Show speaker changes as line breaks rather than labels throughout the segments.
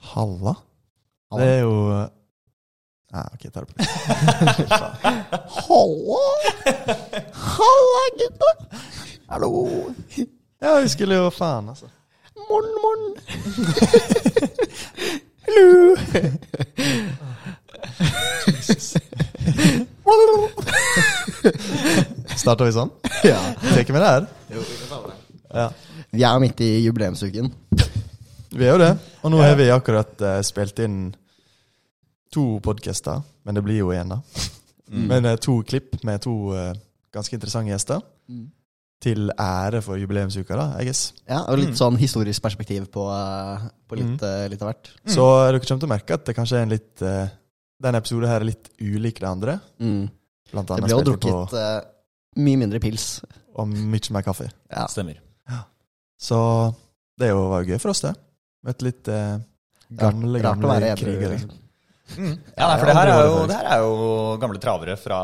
Halla?
Halla.
Det er jo eh, Nei, ok, jeg tar det på nytt. Halla! Halla, gutta! Hallo! Ja, vi skulle jo faen, altså. Morn, morn! Hallo! Starter vi sånn?
Ja.
Tenker vi det her? Ja.
Vi er midt i jubileumsuken.
Vi er jo det. Og nå har vi akkurat eh, spilt inn to podcaster, men det blir jo én, da. Men eh, to klipp med to eh, ganske interessante gjester. Til ære for jubileumsuka, da, I guess.
Ja, Og litt sånn historisk perspektiv på, eh, på litt,
Mm.
eh, litt av hvert.
Så dere kommer til å merke at det kanskje er en litt eh, Denne episoden her er litt ulik det andre.
Mm.
Blant
Det
annet
ble jo
spilte vi
drukket eh, mye mindre pils.
på og mye mer kaffe.
Ja.
Stemmer.
Så det jo, var jo gøy for oss, det. Møtte litt eh, gamle,
Rart- rart å være
gamle
edru,
krigere.
liksom.
Mm. Ja, nei, for
Ja,
det her,
det var
er
det
jo,
faktisk.
det her er jo gamle travere fra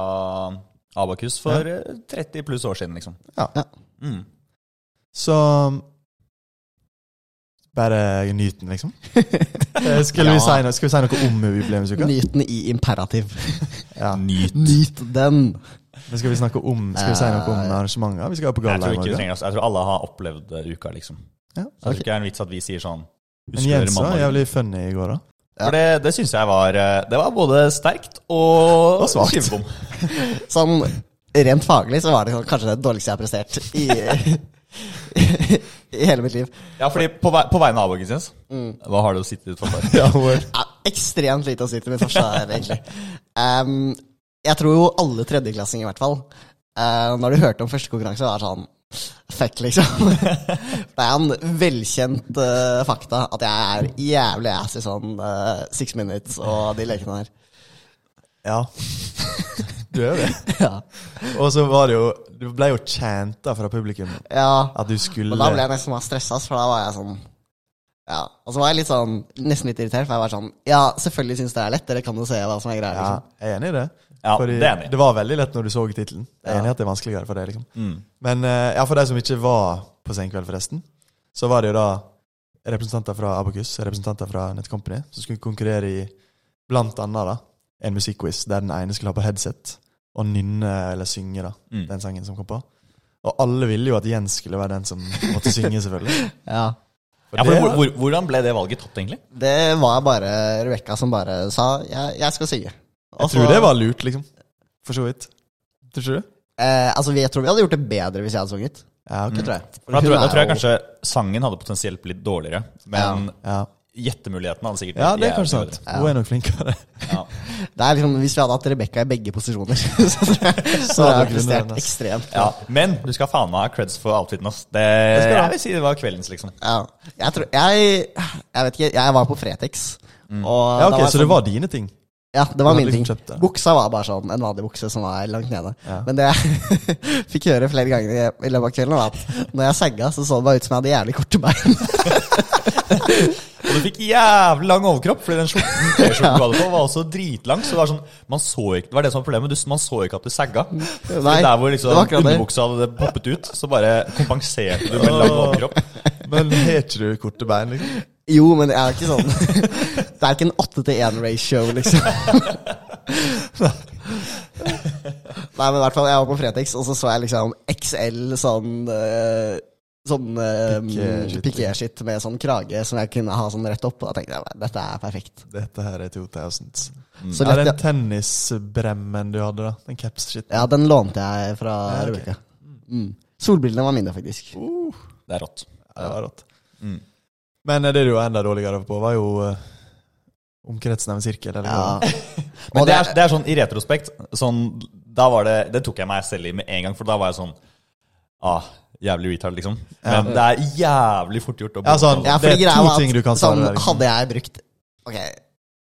Abakus for eh, 30 pluss år siden, liksom.
Ja.
Ja.
Mm.
Så Bare nyt den, liksom. Eh, Skulle vi
Ja.
si noe, skal vi si noe om jubileumsuka?
Nyt den i imperativ.
Ja.
Nyt.
Nyt den!
Men skal vi snakke om Skal vi si noe om arrangementer? Vi skal på
Jeg
galla
tror
i
ikke vi
morgen.
trenger oss. Jeg tror alle har opplevd eh, uka, liksom.
Ja.
Så jeg tror ikke det er en vits at vi sier sånn
Men
dere
Jens var
mandagen?
jævlig funny i går, da.
For det, det syns jeg var eh, Det var både sterkt og,
Og svakt.
skivebom.
Sånn rent faglig så var det sånn kanskje det dårligste jeg har prestert i, i hele mitt liv.
Ja, fordi på, vei, på vegne av Abakus, Jens, hva har du å sitte ditt forsvar?
Ja, hvor-
Ja, ekstremt lite å si til mitt forsvar, egentlig. Ehm, jeg tror jo alle tredjeklassinger, i hvert fall, eh, når du hørte om første konkurranse, var sånn Fuck, liksom. Det er en velkjent eh, fakta at jeg er jævlig ass i sånn eh, six minutes og de lekene der.
Ja. Du er jo det.
Ja.
Og så var det jo Du ble jo chanta fra publikum
ja.
at du skulle
Men da ble jeg nesten bare stressa, for da var jeg sånn Ja. Og så var jeg litt sånn, nesten litt irritert, for jeg var sånn Ja, selvfølgelig syns dere er lett, dere kan jo se hva som er greia,
Ja,
liksom.
jeg er enig i det.
Ja,
Fordi
det er enig.
det var veldig lett når du så tittelen. Jeg er
Ja.
enig i at det er vanskeligere for deg, liksom.
Mm.
Men eh, ja, for de som ikke var på Senkveld, forresten, så var det jo da representanter fra Abakus, representanter fra Netcompany, som skulle konkurrere i blant annet da, en musikkquiz der den ene skulle ha på headset og nynne eller synge da,
Mm.
den sangen som kom på. Og alle ville jo at Jens skulle være den som måtte synge, selvfølgelig.
Ja.
Ja, for hvor, hvor, hvordan ble det valget tatt, egentlig?
Det var bare Rebekka som bare sa jeg, jeg skal synge. Og
Jeg
så-
tror det var lurt, liksom. For så vidt. Tror ikke du?
eh, Altså, vi- Jeg tror vi hadde gjort det bedre hvis jeg hadde sunget.
Mm. Ja, ok.
Det tror jeg. For
Da
hun
tror, jeg- da
er
tror jeg
jo-
kanskje sangen hadde potensielt blitt dårligere, men
Ja.
gjettemuligheten hadde sikkert
ja, det er
jævlig
kanskje sant.
bedre.
Hun er nok flinkere.
Ja.
Det er liksom, Hvis vi hadde hatt Rebekka i begge posisjoner, så tror jeg
hadde
så hadde
hun
jeg prestert
vunnet, ass.
ekstremt.
Ja, men du skal faen meg ha creds for outfiten, ass. Det,
skal du ha.
jeg vil si det var kveldens, liksom.
Ja. Jeg tror Jeg Jeg vet ikke, jeg var på Fretex. Og
Mm. Ja,
da
ok,
jeg
Så det
sånn-
var dine ting?
Ja, det var
Du hadde
min ting.
liksom kjøpt det.
Buksa var bare sånn en vanlig bukse som var langt nede.
Ja.
Men det jeg fikk høre flere ganger i, i løpet av kvelden, var at når jeg sagga, så så det bare ut som jeg hadde jævlig korte bein.
Og du fikk jævlig lang overkropp, fordi den skjorten T-skjorten du hadde på, var også dritlang. Så det var sånn Man så ikke Det var det som var problemet. Du, man så ikke at du sagga.
Nei,
der hvor
det var
liksom
akkurat det.
underbuksa hadde poppet ut, så bare kompenserte du med lang overkropp.
Men har ikke du korte bein, liksom?
Jo, men jeg er ikke sånn Det er ikke en 8 til 1 ratio, liksom. Nei, men i hvert fall, jeg var på Fretex, og så så jeg liksom XL sånn eh, Sånn
Piqué-shit.
piké-skitt med sånn krage som jeg kunne ha sånn rett opp. Og da tenkte jeg dette er perfekt.
Dette her er 2000s.
Så
ja,
dette,
den tennisbremmen du hadde, da. Den caps-shit.
ja, den lånte jeg fra
Ja, ok.
Rebekka. Mm. Solbrillene var mine, faktisk.
Det er rått.
Ja, det var rått.
Mm.
Men eh, det du var enda dårligere på, var jo eh, omkretsen av en sirkel. Eller
Ja.
hva?
Og
Men det er,
det-
det er sånn i retrospekt sånn, Da var det Det tok jeg meg selv i med en gang, for da var jeg sånn Ah, jævlig retard, liksom. Men det er jævlig fort gjort å
Ja, sånn,
Ja, for
Det er
det greia
to
var at
ting du kan svare
sånn,
der, liksom.
Hadde jeg brukt Ok,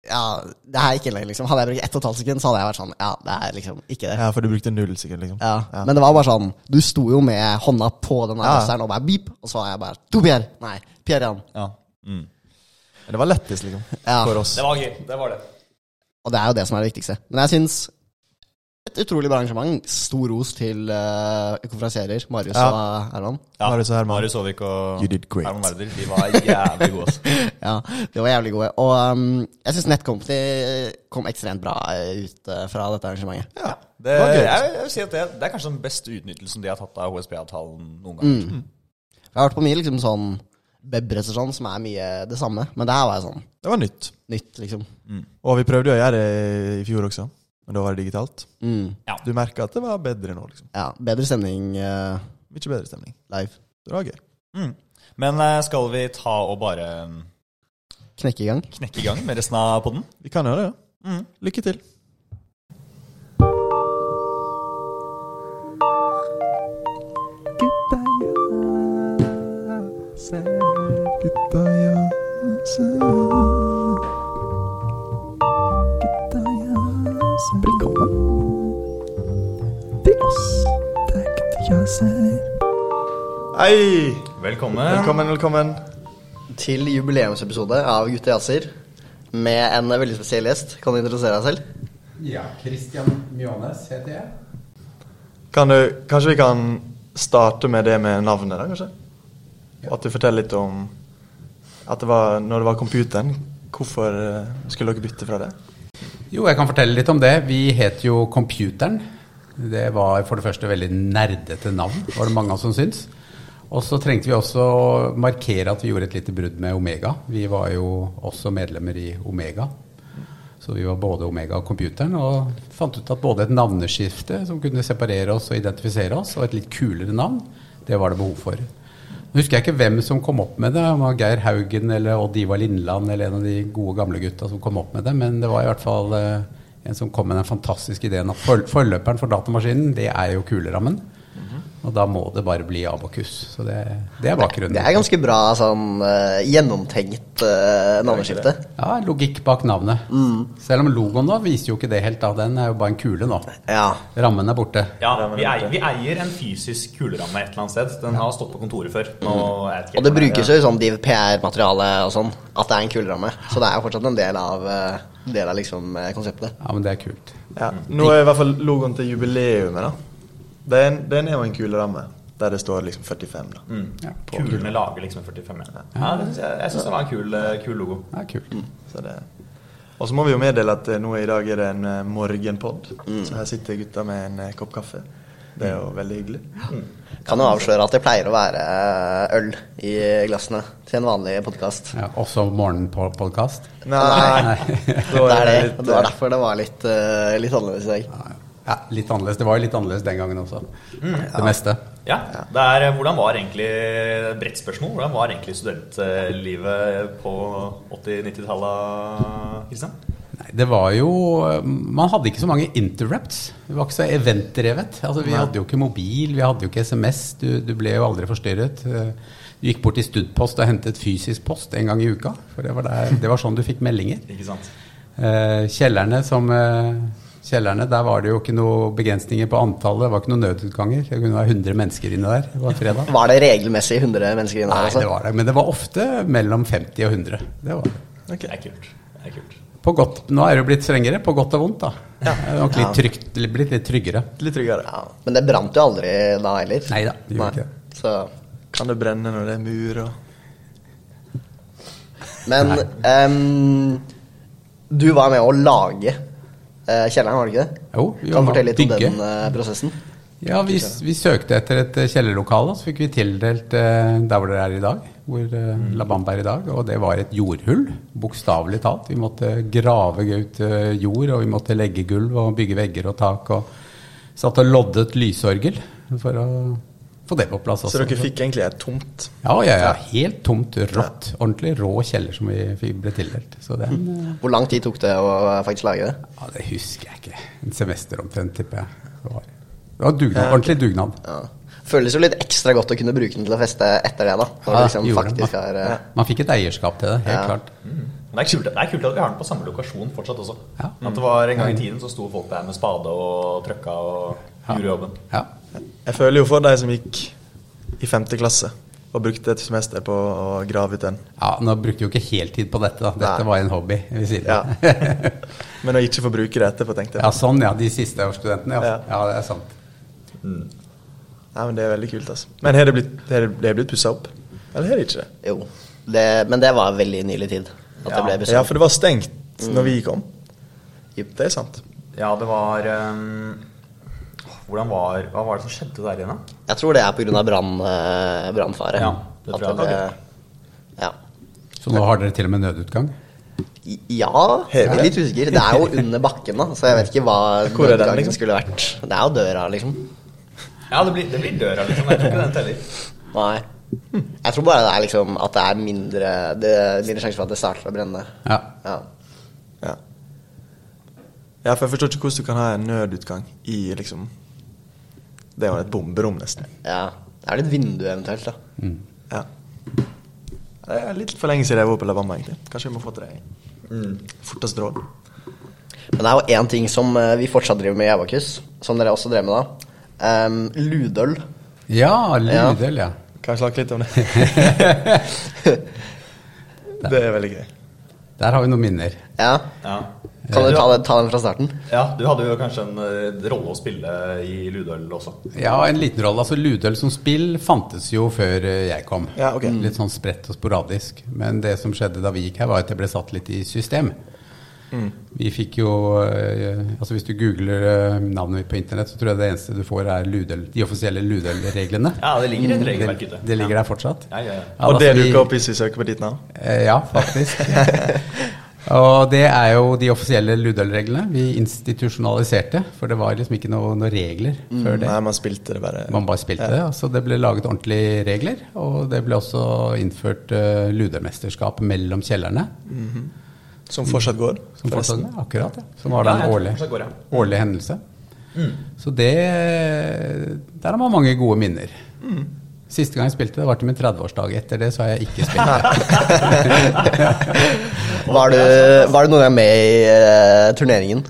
ja, det her er ikke lenger, liksom. Hadde jeg brukt ett og et halvt sekund, så hadde jeg vært sånn Ja, det er liksom ikke det. Ja.
ja, for du brukte null sekund, liksom. Ja.
Men det var bare sånn Du sto jo med hånda på den
Ja.
adresseren og bare beep, og så var jeg bare To Pierre! Nei, Pierre Jan.
Ja. Mm.
Men det var lettest, liksom.
Ja.
For oss.
Det var gøy. Det var det.
Og det er jo det som er det viktigste. Men jeg syns et utrolig bra arrangement. Stor ros til eh, konferansierer Marius
Ja.
og Erland.
Ja,
Marius og Herman.
Marius Aavik og
You did great.
Herman Werder. De var jævlig gode. ass.
Ja, de var jævlig gode. Og ehm, jeg syns Netcompany kom ekstremt bra ut eh, fra dette arrangementet.
Ja.
Det,
var gøy.
jeg, jeg vil si at det, det er kanskje den beste utnyttelsen de har tatt av HSP-avtalen noen gang.
Mm. Jeg har vært på mye liksom sånn Bebres og sånn, som er mye det samme, men det her var jo sånn
Det var nytt.
nytt, liksom.
Og vi prøvde jo å gjøre det i fjor også, men da var det digitalt.
Mm.
Du merka at det var bedre nå, liksom.
Ja, bedre stemning eh,
Mye bedre stemning.
live.
Det var gøy.
Mm. Men eh, skal vi ta og bare um,
Knekke i gang.
knekke i gang med resten av podden?
Vi kan gjøre det, ja.
Mm.
Lykke til. Hei!
Velkommen.
Velkommen, velkommen.
Til jubileumsepisode av Gutta jazzer med en veldig spesiell gjest. Kan du introdusere deg selv?
Ja, Christian Mjånes heter jeg.
Kan du, kanskje vi kan starte med det med navnet, da, kanskje? Og at du forteller litt om at det var, når det var computeren, hvorfor eh, skulle dere bytte fra det?
Jo, jeg kan fortelle litt om det. Vi het jo Computeren. Det var for det første veldig nerdete navn, var det mange av oss som syntes. Og så trengte vi også å markere at vi gjorde et lite brudd med Omega. Vi var jo også medlemmer i Omega. Så vi var både Omega og Computeren, og fant ut at både et navneskifte som kunne separere oss og identifisere oss, og et litt kulere navn, det var det behov for. Nå husker jeg ikke hvem som kom opp med det, om det var Geir Haugen eller Odd Ivar Lindland eller en av de gode gamle gutta som kom opp med det, men det var i hvert fall eh, en som kom med den fantastiske ideen at for, forløperen for datamaskinen, det er jo kulerammen.
Mhm.
Og da må det bare bli Abakus. Så det, det er bakgrunnen.
Det er ganske bra sånn eh, gjennomtenkt eh, navneskifte.
Ja, logikk bak navnet.
Mm.
Selv om logoen nå viser jo ikke det helt, da. Den er jo bare en kule nå.
Ja.
Rammen er borte.
Ja, vi eier, vi eier en fysisk kuleramme et eller annet sted. Den har stått på kontoret før. Nå, er jeg ikke
Og det
helt-
brukes jo i sånn div PR-materiale og sånn, at det er en kuleramme. Så det er jo fortsatt en del av, eh, del av liksom, eh, konseptet.
Ja, men det er kult.
Ja. Nå er i hvert fall logoen til jubileumet, da. Den, den er jo en kul ramme, der det står liksom 45, da.
Ja, på.
Mm. Kulene lager liksom en 45 meter. Ja, det synes jeg jeg syns det var en kul, eh, kul logo.
Ja, kult.
Så det Mm. og så må vi jo meddele at eh, nå i dag er det en eh, morgenpodd. Så her sitter gutta med en eh, kopp kaffe. Det er jo veldig hyggelig.
Kan jo avsløre at det pleier å være eh, øl i glassene til en vanlig podkast.
Ja, også morgenpodkast.
Nei,
Det er det.
litt,
Det var derfor det var litt, eh, litt annerledes i dag.
Ja, litt annerledes. Det var jo litt annerledes den gangen også. Det meste.
Ja, det er eh, Hvordan var egentlig bredt spørsmål? Hvordan var egentlig studentlivet på 80-90-tallet, Kristian?
Nei, det var jo eh, Man hadde ikke så mange interrupts. Det var ikke så eventdrevet. Altså, vi hadde jo ikke mobil, vi hadde jo ikke SMS. Du, du ble jo aldri forstyrret. Eh, Du gikk bort til Studpost og hentet fysisk post en gang i uka. For det var, der, det var sånn du fikk meldinger.
Ikke sant?
Eh, Kjellerne som eh, Kjellerne, der var det jo ikke noe begrensninger på antallet. Det var ikke noen nødutganger. Det kunne være 100 mennesker inne der hver fredag.
Var det regelmessig 100 mennesker inne her?
Nei, det
Altså?
var det. Men det var ofte mellom 50 og 100. Det var det.
Det er kult. Det er kult.
På godt, nå er det jo blitt strengere, på godt og vondt, da. Det er nok litt trygt, blitt litt tryggere.
litt tryggere.
Ja, men det brant jo aldri da heller.
Nei da, det gjorde ikke det.
Så.
Kan det brenne når det er mur og
Men ehm, du var med å lage eh, kjelleren, var det ikke det?
Jo, vi
Kan du
var
fortelle litt om
bygge.
den eh, prosessen?
Ja, vi, s- vi søkte etter et eh, kjellerlokale, så fikk vi tildelt eh, der hvor det er i dag, hvor eh,
Mm.
La Bamba er i dag, og det var et jordhull, bokstavelig talt. Vi måtte grave ut eh, jord, og vi måtte legge gulv og bygge vegger og tak, og satt og loddet lysorgel for å få det på plass også.
Så dere fikk egentlig et tomt
Ja, ja, ja. Helt tomt, rått. Ordentlig rå kjeller som vi fikk- ble tildelt. Så den
Mm.
eh,
Hvor lang tid tok det å eh, faktisk lage det?
Ja, det husker jeg ikke. En semester omtrent, tipper jeg. Det var, det var dugnad, ordentlig dugnad.
Ja. Føles jo litt ekstra godt å kunne bruke den til å feste etter det, da. Når
Ja,
du liksom
gjorde det.
faktisk har eh,
Man fikk et eierskap til det, helt
Ja.
klart.
Men Det er, kult, det er kult at vi har den på samme lokasjon fortsatt også.
Ja.
At det var En gang i tiden så sto folk der med spade og trøkka og gjorde jobben.
Ja.
Jeg føler jo for de som gikk i femte klasse. Og brukte et semester på å grave ut den.
Ja, Nå brukte vi jo ikke heltid på dette, da. Dette
Nei.
var en hobby ved siden
Ja.
av.
Men å ikke få bruke det etterpå, tenkte jeg.
Ja, sånn, ja. De siste årsstudentene, ja.
Ja.
ja. det er sant.
Nei, men Det er veldig kult. altså. Men har det blitt, har det- det har blitt pussa opp? Eller har det ikke det?
Jo. Det, men det var veldig nylig tid. At det ble
Ja,
besøkt.
for det var stengt når vi kom. Det er sant.
Ja, det var ehm, Hvordan var Hva var det som skjedde der igjen, da?
Jeg tror det er pga. brann, eh, brannfare.
Ja,
det
At
tror jeg.
det ble- ja.
Så nå har dere til og med nødutgang?
I- ja, jeg er litt usikker. Det er jo under bakken, da, så jeg vet ikke hva
Hvor er den,
nødgangen
liksom?
skulle vært. Det er jo døra, liksom.
Ja, det blir, det blir døra, liksom. Jeg tror ikke den teller.
Nei. Jeg tror bare det er liksom at det er mindre Det er mindre sjanse for at det starter å brenne.
Ja.
Ja.
Ja. ja, for jeg forstår ikke hvordan du kan ha en nødutgang i liksom Det er jo et bomberom, nesten.
ja. Det er vel et vindu eventuelt, da.
Ja. Det er litt for lenge siden jeg var på Alabama, egentlig. Kanskje vi må få til det fortest råd.
Men det er jo én ting som eh, vi fortsatt driver med i Abakus, som dere også drev med da. Em, ludøl.
Ja, Lydel, ja.
Kan jeg snakke litt om det? det er veldig gøy.
Der har vi noen minner.
Ja.
Ja.
Kan du ta, ta den fra starten?
ja, du hadde jo kanskje en eh, rolle å spille i Ludøl også.
Ja, en liten rolle. Altså Lydel som spill fantes jo før eh, jeg kom.
Ja, ok.
Litt sånn spredt og sporadisk. Men det som skjedde da vi gikk her, var at det ble satt litt i system. Vi fikk jo eh, Altså Hvis du googler eh, navnet mitt på internett, så tror jeg det eneste du får, er Ludel, de offisielle Ludel-reglene.
Ja, det ligger et
Det,
regelverk ute.
det ligger der fortsatt.
Ja, ja, ja.
Og det
altså, vi-
dukker opp hvis vi søker på ditt navn?
Eh, Ja, faktisk. og det er jo de offisielle Ludøl-reglene. Vi institusjonaliserte, for det var liksom ikke noe- noen regler
Mm.
før det.
Nei, man spilte det bare.
Man bare spilte det. Så det ble laget ordentlige regler. Og det ble også innført uh, Ludøl-mesterskap mellom kjellerne.
Som fortsatt går?
Som
forresten.
fortsatt, akkurat, ja. Som var da
Ja,
en
jeg tror
årlig,
fortsatt går, ja. Mm.
årlig hendelse. Så det Der har man mange gode minner.
Mm.
Siste gang jeg spilte, det var til min 30-årsdag. Etter det så har jeg ikke spilt.
Var du, var du noen gang med i eh, turneringen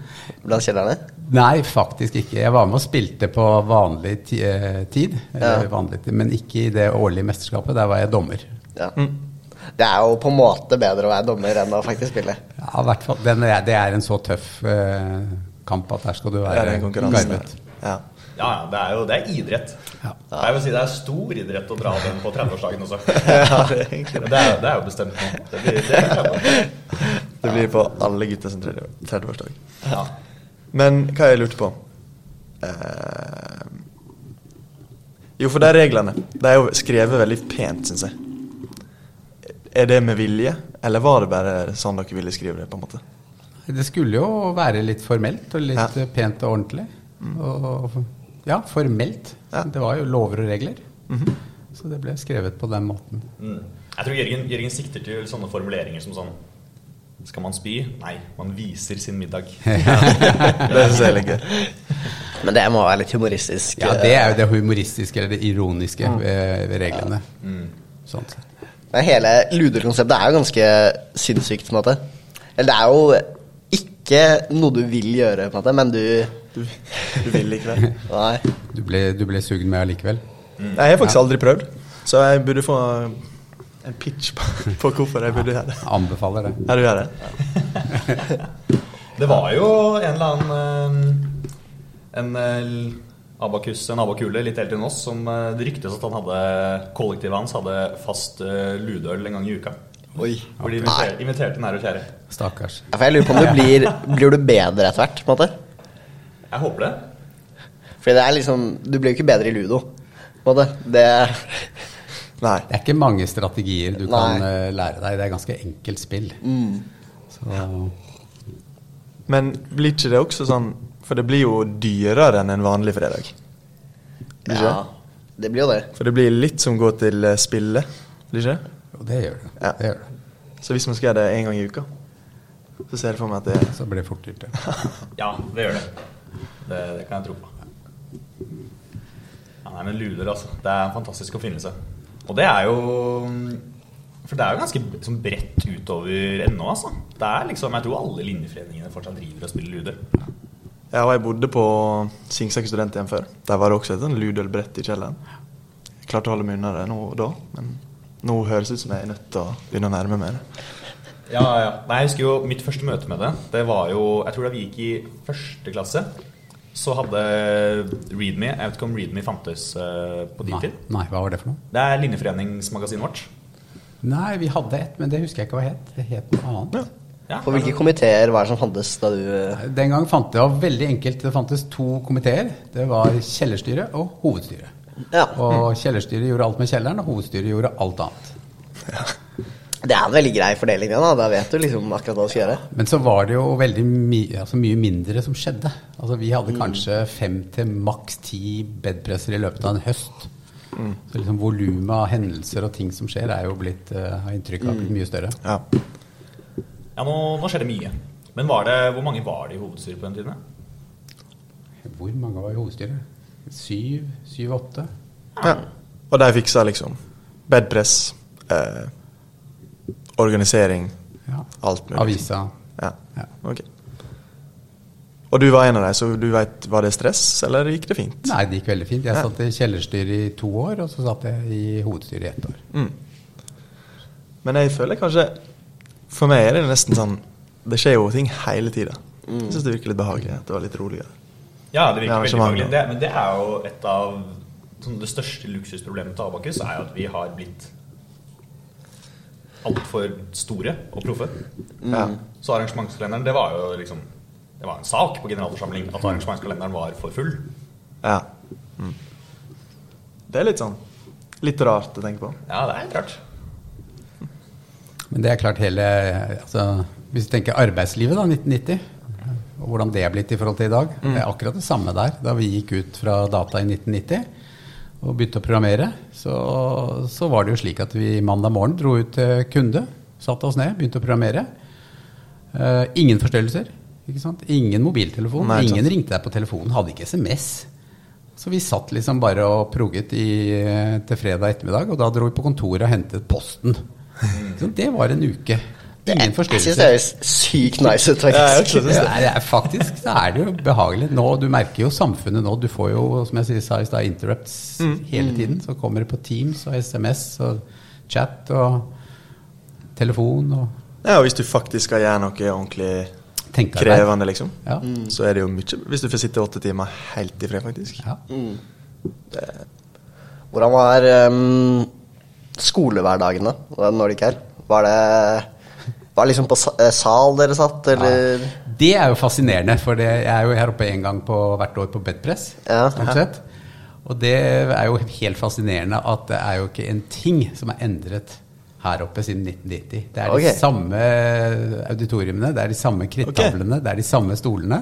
blant kjellerne?
Nei, faktisk ikke. Jeg var med og spilte på vanlig ti eh, tid, eller vanlig tid, men ikke i det årlige mesterskapet. Der var jeg dommer.
Ja.
Mm.
Det er jo på en måte bedre å være dommer enn å faktisk spille.
Ja, i hvert fall, den er, Det er en så tøff eh, kamp at der skal du
Det er
være
en konkurranse.
garvet.
Ja.
Ja, ja, det er jo det er idrett.
Ja.
Jeg vil si det er stor idrett å dra den på 30-årsdagen også.
Ja, det er egentlig
Men det er, det er jo bestemt nå. Det blir, det blir 30-årsdagen.
Det blir på alle gutter sin 30-årsdag.
ja.
Men hva jeg lurte på eh, Jo, for de reglene De er jo skrevet veldig pent, syns jeg. Er det med vilje, eller var det bare sånn dere ville skrive det? på en måte?
Det skulle jo være litt formelt og litt
Ja. Mm.
eh, pent og ordentlig. Og, ja, formelt.
Ja. Mhm.
Det var jo lover og regler. Så det ble skrevet på den måten.
Mm. Jeg tror Jørgen, Jørgen sikter til sånne formuleringer som sånn Skal man spy? Nei, man viser sin middag.
Det syns jeg er litt gøy.
Men det må være litt humoristisk.
Ja, Det er jo det humoristiske eller det ironiske
Mm.
ved, ved reglene. Sånn sett.
Men hele luderkonseptet er jo ganske sinnssykt, på en måte. Eller det er jo ikke noe du vil gjøre, på en måte, men du
Du, du vil likevel.
Nei.
Du ble, du ble sugd med allikevel?
Mm. Nei, Jeg har faktisk aldri prøvd, så jeg burde få en pitch på, på hvorfor jeg burde gjøre det.
Anbefaler det.
Ja, du gjør det?
Det var jo en eller annen eh, En eh, abakus, en abakule litt eldre enn oss, som eh, det ryktes at han hadde kollektivet hans hadde fast eh, ludøl en gang i uka.
Oi.
Hvor de inviterte, inviterte nære og kjære.
Stakkars.
Ja, for jeg lurer på om du blir, blir du bedre etter hvert, på en måte.
Jeg håper det.
Fordi det er liksom Du blir jo ikke bedre i ludo, på en måte. Det
Nei.
Det er ikke mange strategier du kan
Nei. Mm.
eh, lære deg. Det er ganske enkelt spill. Så
Men blir ikke det også sånn For det blir jo dyrere enn en vanlig fredag. Blir ikke
Ja.
det?
Det blir jo det.
For det blir litt som går til eh, spillet, blir ikke det?
jo, det gjør du.
Ja.
Det gjør du.
Så hvis man skal gjøre det én gang i uka, så ser jeg for meg at det
Så blir det fort dyrt. ja.
Ja, det gjør det. Det, det kan jeg tro på. Ja, nei, men luder, altså. Det er en fantastisk oppfinnelse. Og det er jo For det er jo ganske liksom, bredt utover ennå, altså. Det er liksom, Jeg tror alle linjeforeningene fortsatt driver og spiller luder.
Ja, og jeg bodde på Singsak studenthjem før. Der var det også et sånn ludølbrett i kjelleren. klarte å holde meg unna det nå og da, men nå høres det ut som jeg er nødt til å begynne å nærme meg det.
Ja, ja, ja. Nei, jeg husker jo mitt første møte med det. Det var jo Jeg tror da vi gikk i første klasse, så hadde Readme Jeg vet ikke om Readme fantes eh, på din
Nei,
tid.
nei, hva var det for noe?
Det er linjeforeningsmagasinet vårt.
Nei, vi hadde et, men det husker jeg ikke hva het. Det het noe annet.
Ja,
Og hvilke komiteer var det som fantes da du eh,
Den gang fant det var veldig enkelt. Det fantes to komiteer. Det var kjellerstyret og hovedstyret.
Ja.
Og kjellerstyret gjorde alt med kjelleren, og hovedstyret gjorde alt annet.
Det er en veldig grei fordeling, det. da Da vet du liksom akkurat hva du skal gjøre.
Men så var det jo veldig my altså mye mindre som skjedde. Altså Vi hadde kanskje fem til maks ti bedpresser i løpet av en høst. Så liksom volumet av hendelser og ting som skjer, er jo blitt, eh, har inntrykk av blitt mye større.
Ja.
ja nå, nå skjer det mye. Men var det, hvor mange var det i hovedstyret på den tiden? da?
Hvor mange var i hovedstyret? Syv? Syv-åtte?
ja. Og de fiksa liksom bedpress, eh, organisering,
Ja.
alt mulig.
Avisa.
Ja.
Ja.
Ok. Og du var en av dem, så du veit Var det stress, eller gikk det fint?
Nei, det gikk veldig fint. Jeg satt i kjellerstyret i to år, og så satt jeg i hovedstyret i ett år.
Men jeg føler kanskje For meg er det nesten sånn Det skjer jo ting hele tida. Jeg syns det virker litt behagelig at det var litt roligere.
Ja, det
Ja,
virker veldig
arrangementet.
faglig. Det, men det er jo et av sånn, Det største luksusproblemet til Abakus er jo at vi har blitt altfor store og proffe.
Ja.
Så arrangementskalenderen, det var jo liksom Det var en sak på generalforsamling at arrangementskalenderen var for full.
ja. Mm. Det er litt sånn Litt rart å tenke på.
Ja, det er helt rart.
Men det er klart hele altså, Hvis du tenker arbeidslivet, da, 1990, og hvordan det er blitt i forhold til i dag, det er akkurat det samme der. Da vi gikk ut fra data i 1990 og begynte å programmere, så, så var det jo slik at vi mandag morgen dro ut til kunde, satte oss ned, begynte å programmere. Eh, ingen forstørrelser. Ikke sant? Ingen mobiltelefon.
Nei, ikke sant.
ingen ringte deg på telefonen. Hadde ikke SMS. Så vi satt liksom bare og progget i, eh, til fredag ettermiddag, og da dro vi på kontoret og hentet posten. Så det var en uke.
Jeg
Ingen
synes det
forstyrrelser.
høres sykt nice ut,
Ja, jeg
faktisk.
synes det.
Nei, det er faktisk så er det jo behagelig. Nå, du merker jo samfunnet nå. Du får jo, som jeg sier, sa i stad, interrupts
Mm.
hele tiden. Så kommer det på Teams og SMS og chat og telefon og
Ja, og hvis du faktisk skal gjøre noe ordentlig
tenkearbeid.
krevende, liksom,
Ja.
så er det jo mye Hvis du får sitte åtte timer helt i fred, faktisk.
Ja.
Hvordan var ehm, skolehverdagen da, da- når du gikk her? Var det var det liksom på sa- eh, sal dere satt, eller?
Det er jo fascinerende, for det, jeg er jo her oppe en gang på, hvert år på bedpress.
Ja.
Stort sett. Og det er jo helt fascinerende at det er jo ikke en ting som er endret her oppe siden 1990. Det er
Ok.
de samme auditoriumene, det er de samme krittavlene, det er de samme stolene.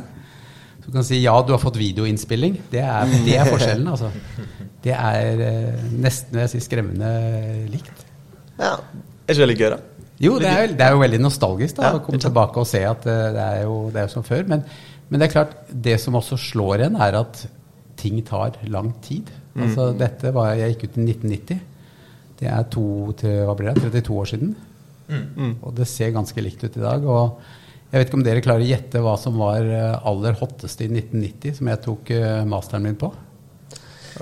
Så du kan si ja, du har fått videoinnspilling. Det er, det er forskjellen, altså. Det er eh, nesten vil jeg si, skremmende likt.
Ja.
Er ikke det litt gøy, da?
Jo, det er, jo- det er jo veldig nostalgisk da,
Ja,
å komme tilbake og se at eh, det er jo, det er jo som før. Men, men det er klart, det som også slår en, er at ting tar lang tid. Altså, dette var, Jeg gikk ut i 1990. Det er to til, hva blir det, 32 år siden. Og det ser ganske likt ut i dag. Og jeg vet ikke om dere klarer å gjette hva som var eh, aller hotteste i 1990, som jeg tok eh, masteren min på.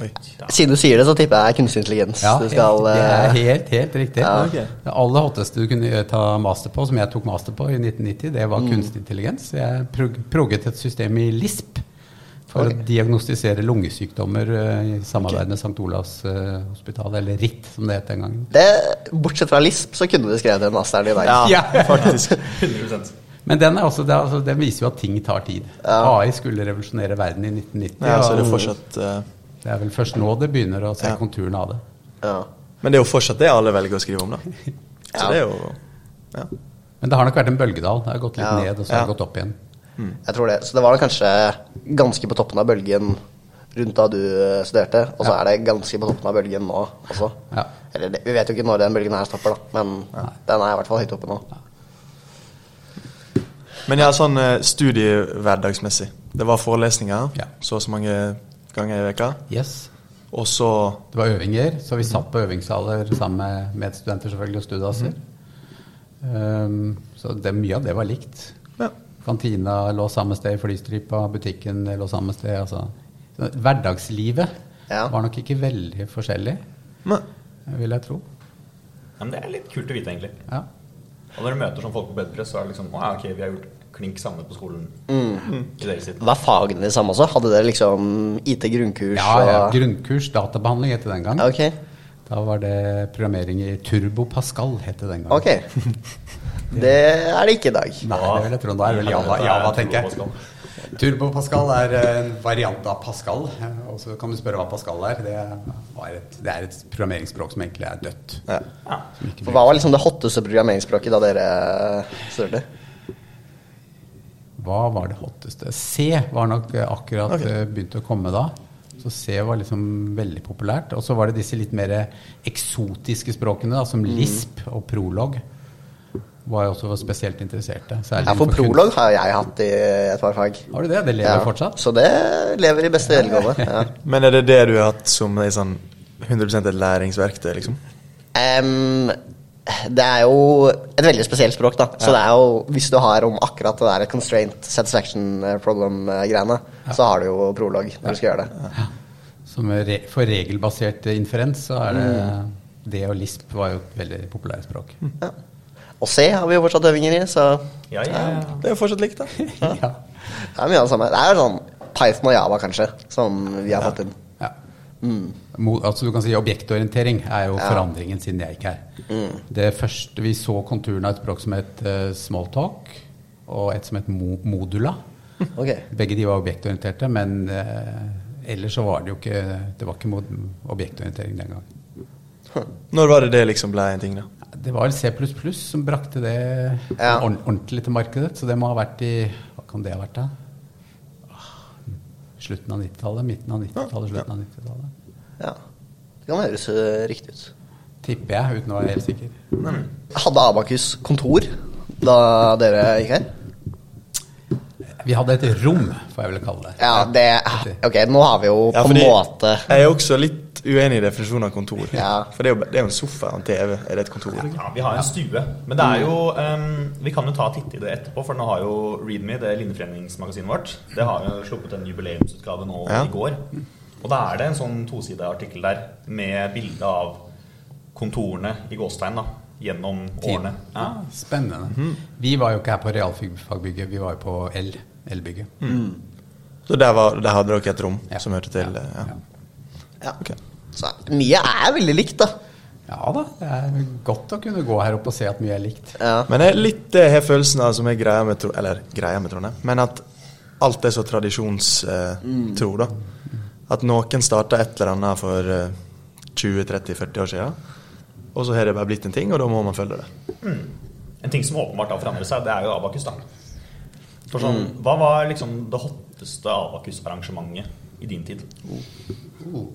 Oi.
Siden du sier det, så tipper jeg kunstig intelligens.
Ja,
du skal,
det er
eh,
helt, helt riktig.
Ja.
Ok.
Det aller hotteste du kunne gjøre- ta master på, som jeg tok master på i 1990, det
Mm.
var kunstig intelligens. Jeg prog- progget et system i LISP for å diagnostisere lungesykdommer eh, i samarbeid med St. Olavs eh, hospital, eller RIT, som det het den gangen.
det, bortsett fra LISP, så kunne du skrevet den masteren i dag.
Ja,
Ja.
faktisk.
100
Men den, er også, det er, altså, den viser jo at ting tar tid. AI skulle revolusjonere verden i 1990.
Ja, så er det, jo
og
fortsatt, eh,
det er vel først nå det begynner å se
Ja.
konturene av det.
Ja.
men det er jo fortsatt det alle velger å skrive om, da. Så
Ja.
det er jo ja.
Men det har nok vært en bølgedal. Det har gått litt
Ja.
ned, og så har
Ja.
det gått opp igjen.
Jeg tror det. Så det var nok kanskje ganske på toppen av bølgen rundt da du eh, studerte, og så er det ganske på toppen av bølgen nå også.
Ja.
Eller det- vi vet jo ikke når den bølgen her stopper, da, men den er i hvert fall høyt oppe nå.
Men ja, sånn eh, studiehverdagsmessig. Det var forelesninger
Ja.
så og så mange ganger i veka
Yes.
Og så
Det var øvinger, så vi satt på øvingssaler sammen med medstudenter selvfølgelig og studaser.
Mhm.
Um, så det, mye av det var likt.
ja.
Kantina lå samme sted, flystripa, butikken lå samme sted. Altså. Så Hverdagslivet
Ja.
var nok ikke veldig forskjellig.
Men,
vil jeg tro.
Ja, men det er litt kult å vite, egentlig.
Ja.
Og når du møter sånn folk på bedpress, så er det liksom Å ja, ok, vi har gjort klink samme på skolen. I deres sitt.
Var fagene de samme også? Hadde dere liksom IT-grunnkurs?
Ja, ja,
og-
grunnkurs databehandling het det den gang.
Ja, ok.
Da var det programmering i Turbo Pascal het det den gang.
Ok. Det er det ikke i dag.
Nei, det vil jeg tro. Da er det vel Java,
Ja, det er
Java
Turbo
tenker jeg.
Pascal.
Turbo Pascal er eh, en variant av Pascal. Eh, Og så kan du spørre hva Pascal er. Det er et, det er et programmeringsspråk som egentlig er dødt.
Ja.
Ja.
Som ikke
For Hva var liksom det hotteste programmeringsspråket da dere eh, studerte?
Hva var det hotteste? C var nok eh, akkurat eh, begynt å komme da. Så C var liksom veldig populært. Og så var det disse litt mer eksotiske språkene, da,
Mm.
som LISP og prolog. Var jo også spesielt interesserte. særlig
Ja, for
innenfor kunst.
prolog har jeg hatt i et par fag.
Har du det? Det lever
Ja.
fortsatt?
Så det lever i beste velgående. Ja.
men er det det du har hatt som er sånn 100 et læringsverktøy, liksom?
Em, det er jo et veldig spesielt språk, da. Så det er jo, hvis du har om akkurat det der constraint satisfaction problem-greiene, så har du jo prolog når du skal gjøre det.
Som re for regelbasert eh, inferens så er det Det og LISP var jo et veldig populært språk.
Ja. Og C har vi jo fortsatt øvinger i, så
Ja, ja, ja.
Det er jo fortsatt likt, da.
Ja.
Det er mye av det samme. Det er jo sånn Python og Java, kanskje, som vi har fått inn.
Ja. Mo- Altså du kan si Objektorientering er jo forandringen siden jeg gikk her. Det første vi så konturene av et språk som het eh, Smalltalk, og et som het Mo Modula.
Ok.
Begge de var objektorienterte, men eh, ellers så var det jo ikke Det var ikke mod objektorientering den gang.
Når var det det liksom ble en ting, da?
Det var vel C++ som brakte det
Ja.
ord- ordentlig til markedet, så det må ha vært i Hva kan det ha vært, da? Ah, Slutten av 90-tallet? Midten av 90-tallet? Slutten av 90-tallet?
Ja. Det kan høres eh, riktig ut.
Tipper jeg, uten å være helt sikker.
Hadde Abakus kontor da dere gikk her?
Vi hadde et rom, får jeg vel kalle det.
Ja, det Ok, nå har vi jo
Ja,
på en
fordi
måte
Jeg er også litt uenig i definisjonen av kontor.
Ja.
For det er, jo, det er jo en sofa og en TV. Er det et kontor? liksom?
Ja, Vi har en stue. Men det er jo ehm, Vi kan jo ta en titt i det etterpå, for nå har jo Readme, det linjeforeningsmagasinet vårt, det har jo sluppet en jubileumsutgave nå
Ja.
i går. Og da er det en sånn tosida artikkel der med bilde av kontorene i gåstegn da, gjennom årene. Ja.
Ja,
Mhm.
spennende. Vi var jo ikke her på realfagbygget, vi var jo på L, L-bygget.
Så der, var, der hadde dere et rom
Ja.
Mm. som hørte til eh,
Ja.
ja.
ja.
Ok.
Så mye er veldig likt, da.
Ja da, det er godt å kunne gå her oppe og se at mye er likt.
Ja.
Men det er litt det jeg har følelsen av som er greia med Tro- Eller greia med Trondheim, men at alt er så
Mm.
tradisjonstro, da. At noen starta et eller annet for eh, 20-30-40 år siden, og så har det bare blitt en ting, og da må man følge det.
En ting som åpenbart har forandret seg, det er jo Abakus. da. For sånn, Hva var liksom det hotteste Abakus-arrangementet i din tid?
Oh.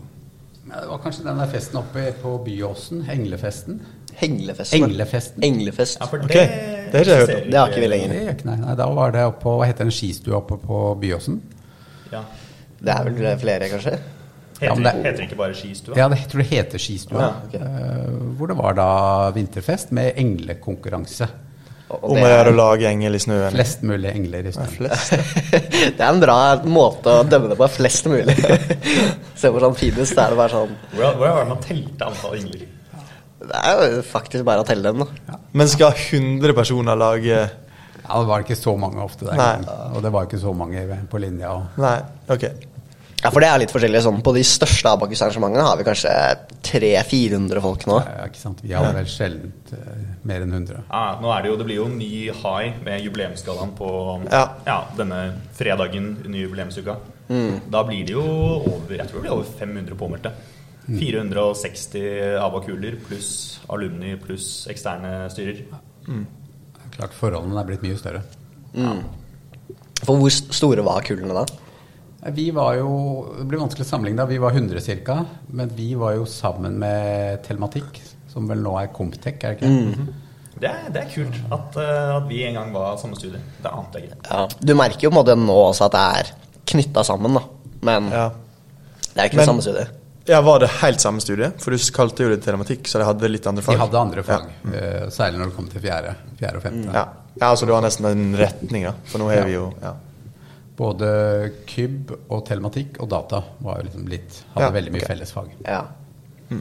Ja, Det var kanskje den der festen oppe på Byåsen, Englefesten.
Henglefesten.
Englefesten.
Englefest.
Ja, for
Ok,
det,
det har jeg hørt om.
Det har ikke vi lenger.
Det gjør ikke, nei. nei. Da var det oppå, hva heter den skistua oppe på Byåsen?
Ja.
Det er vel flere, kanskje?
Heter,
Ja, men det-
heter det ikke bare skistua?
Ja, det, jeg tror det heter skistua.
Ja, ok.
Eh, hvor det var da vinterfest med englekonkurranse.
Og- og
Om
det
å
er-
gjøre å lage engel i snøen.
Flest mulig engler i snøen.
det er en bra måte å dømme det på. Flest mulig. Se hvor sånn finest det er. Det bare sånn
Hvordan, hvordan var det man telte antall engler?
Det er jo faktisk bare å telle dem, da.
Men skal 100 personer lage
Ja, det var ikke så mange ofte der.
Nei.
Og det var ikke så mange på linja. og-
Nei, OK.
Ja, for det er litt forskjellig. Sånn, på de største Abakus-arrangementene har vi kanskje 300-400 folk nå.
Ja, Eh, ikke sant? Vi hadde vel sjelden eh, mer enn 100.
Ja, nå er det jo, det blir jo ny high med jubileumsgallaen på
Ja.
denne fredagen under jubileumsuka.
Mm.
Da blir det jo over jeg tror det blir over 500 påmeldte. 460 abakuler pluss alumni pluss eksterne styrer.
Det er Klart forholdene er blitt mye større.
For hvor s- store var kullene da?
Eh, Vi var jo, Det blir vanskelig å sammenligne, da. vi var 100 ca. Men vi var jo sammen med Telematikk, som vel nå er Comptech, er det ikke det?
Det er, det er kult at, eh, at vi en gang var samme studie. Det ante jeg ikke.
Ja. Du merker jo på en måte nå også at det er knytta sammen, da. Men
Ja.
det er ikke
Men-
det samme studiet.
ja, Var det helt samme studie? For du kalte jo det telematikk, så de hadde litt andre fag.
De hadde andre fag, eh, særlig når det kom til fjerde, fjerde og femte.
Mm. Ja. ja, altså det var nesten en retning, da. For nå har vi jo ja.
Både KYB og telematikk og data var jo liksom litt, hadde
Ja,
veldig mye
ok.
fellesfag.
Ja.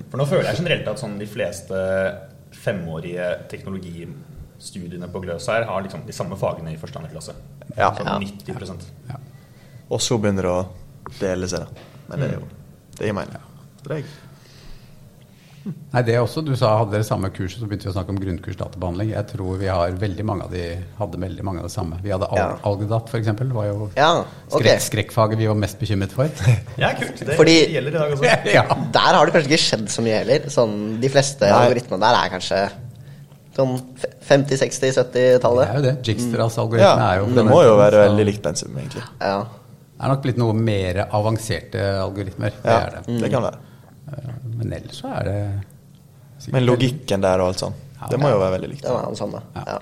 For nå føler jeg generelt at sånn de fleste femårige teknologistudiene på Gløs her har liksom de samme fagene i første og andre klasse.
Ja.
Ja.
Sånn 90
Og så begynner det å dele seg, da. Men det er jo Det gir mening. Så det er jeg.
Nei, det også. Du sa hadde dere samme kurset, så begynte vi å snakke om grunnkurs databehandling. Jeg tror vi har veldig mange av de hadde veldig mange av det samme. Vi hadde al
Ja.
algedat, f.eks. Det var jo
Ja, ok.
skrekk, skrekkfaget vi var mest bekymret for.
Ja, kult. Det
Fordi-
gjelder i dag også.
ja.
Der har det kanskje ikke skjedd så mye heller. Sånn, de fleste
Nei.
algoritmene der er kanskje sånn fe- 50-, 60-,
Det er
70-tallet.
jo det. Jigstras algoritme
Ja,
er jo
det
fra
må
den
jo
tiden,
være
så
veldig likt pensum, egentlig.
Ja.
Det er nok blitt noe mer avanserte algoritmer. Det
Ja, Mm.
er det.
det kan være.
Eh, Men ellers så er det sikkert-
Men logikken der og alt sånn, det må jo være veldig likt.
Det var den samme. Ja.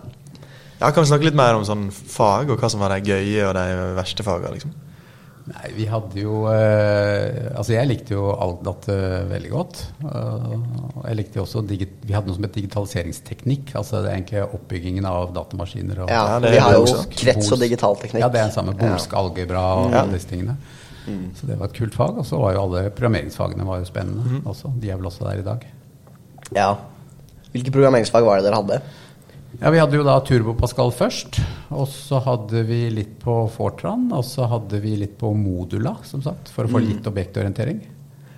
Ja, Kan vi snakke litt mer om sånn fag, og hva som var de gøye og de verste fagene? Liksom?
Nei, vi hadde jo eh, Altså, jeg likte jo Algdat eh, veldig godt. Eh, og jeg likte jo også digi Vi hadde noe som het digitaliseringsteknikk. Altså det er egentlig oppbyggingen av datamaskiner og
ja.
Ja, det
Vi
er
har jo
også.
krets- og digitalteknikk.
Ja, det er den samme. Bolsk algebra og alle disse tingene.
Mm.
Så det var et kult fag. Og så var jo alle programmeringsfagene var jo spennende
Mhm.
også. De er vel også der i dag.
Ja. Hvilke programmeringsfag var det dere hadde?
Ja, Vi hadde jo da Turbo Pascal først, og så hadde vi litt på Fortran, og så hadde vi litt på Modula, som sagt, for
Mm.
å få litt objektorientering.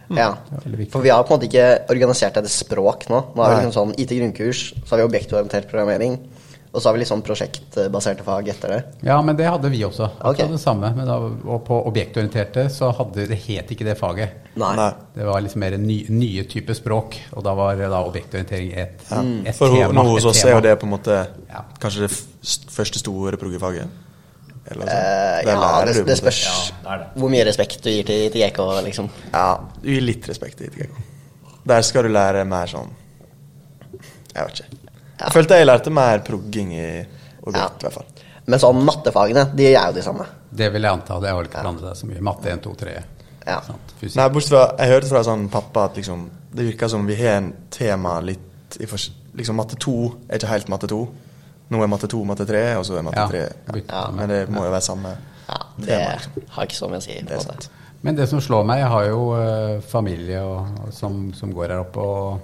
Ja.
det er veldig viktig.
For vi har på en måte ikke organisert etter språk nå. Nå har vi
Nei.
liksom sånn IT grunnkurs, så har vi objektorientert programmering, og så har vi liksom prosjektbaserte fag etter det.
Ja, men det hadde vi også.
Ok.
Okay. Det samme, men da, og på objektorienterte så hadde det het ikke det faget.
Nei.
Nei.
Det var liksom mer ny, nye typer språk, og da var da objektorientering et, et
Mm. For ho-
tema.
nå hos
et
oss
tema.
er jo det på en måte
Ja.
kanskje det f st- første store proggefaget. Eller sånn.
Eh,
Der
ja,
lærer
det,
du på en
det
måte.
spørs
Ja, det er det.
hvor mye respekt du gir til, til GK, liksom.
Ja, du gir litt respekt til ITGK. Der skal du lære mer sånn Jeg vet ikke. Jeg følte jeg lærte mer progging i
Ja.
objekt, i hvert fall.
Men sånn mattefagene, de er jo de samme.
Det vil jeg anta. Det har vel ikke forandret seg så mye. Matte 1, 2, 3.
Ja.
Sant? Fysikk.
Nei, bortsett fra Jeg hørte fra sånn pappa at liksom det virker som vi har en tema litt i fors... Liksom matte 2 er ikke helt matte 2. Nå er matte 2 matte 3, og så er matte
Ja,
3
bytte
ja.
med.
Men det må jo være samme.
Ja, det
Tema,
har ikke så mye å si.
Det
På
er
en måte.
sant.
Men det som slår meg, jeg har jo eh, familie og, og som, som går her oppe, og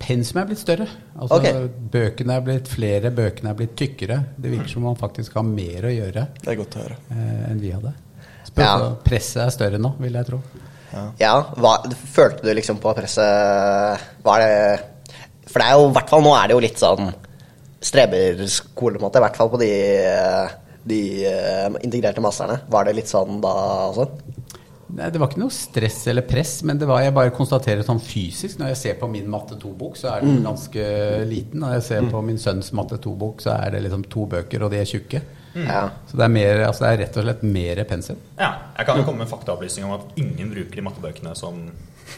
pensum er blitt større. Altså,
Ok.
Bøkene er blitt flere, bøkene er blitt tykkere. Det virker som man faktisk har mer å gjøre
Det er godt å høre.
eh, enn vi hadde. Spør,
Ja.
så Presset er større nå, vil jeg tro.
Ja, hva, følte du liksom på presset Var det For det er jo i hvert fall nå er det jo litt sånn streberskole, på en måte. I hvert fall på de, eh, de eh, integrerte masterne. Var det litt sånn da også?
Nei, Det var ikke noe stress eller press, men det var, jeg bare konstaterer sånn fysisk Når jeg ser på min matte 2-bok, så er den
Mm.
ganske liten. Når jeg ser på min sønns matte 2-bok, så er det liksom to bøker, og de er tjukke.
Ja.
Så det er, mer, altså det er rett og slett mer pensum.
Ja, jeg kan jo komme med en faktaopplysning om at ingen bruker de mattebøkene som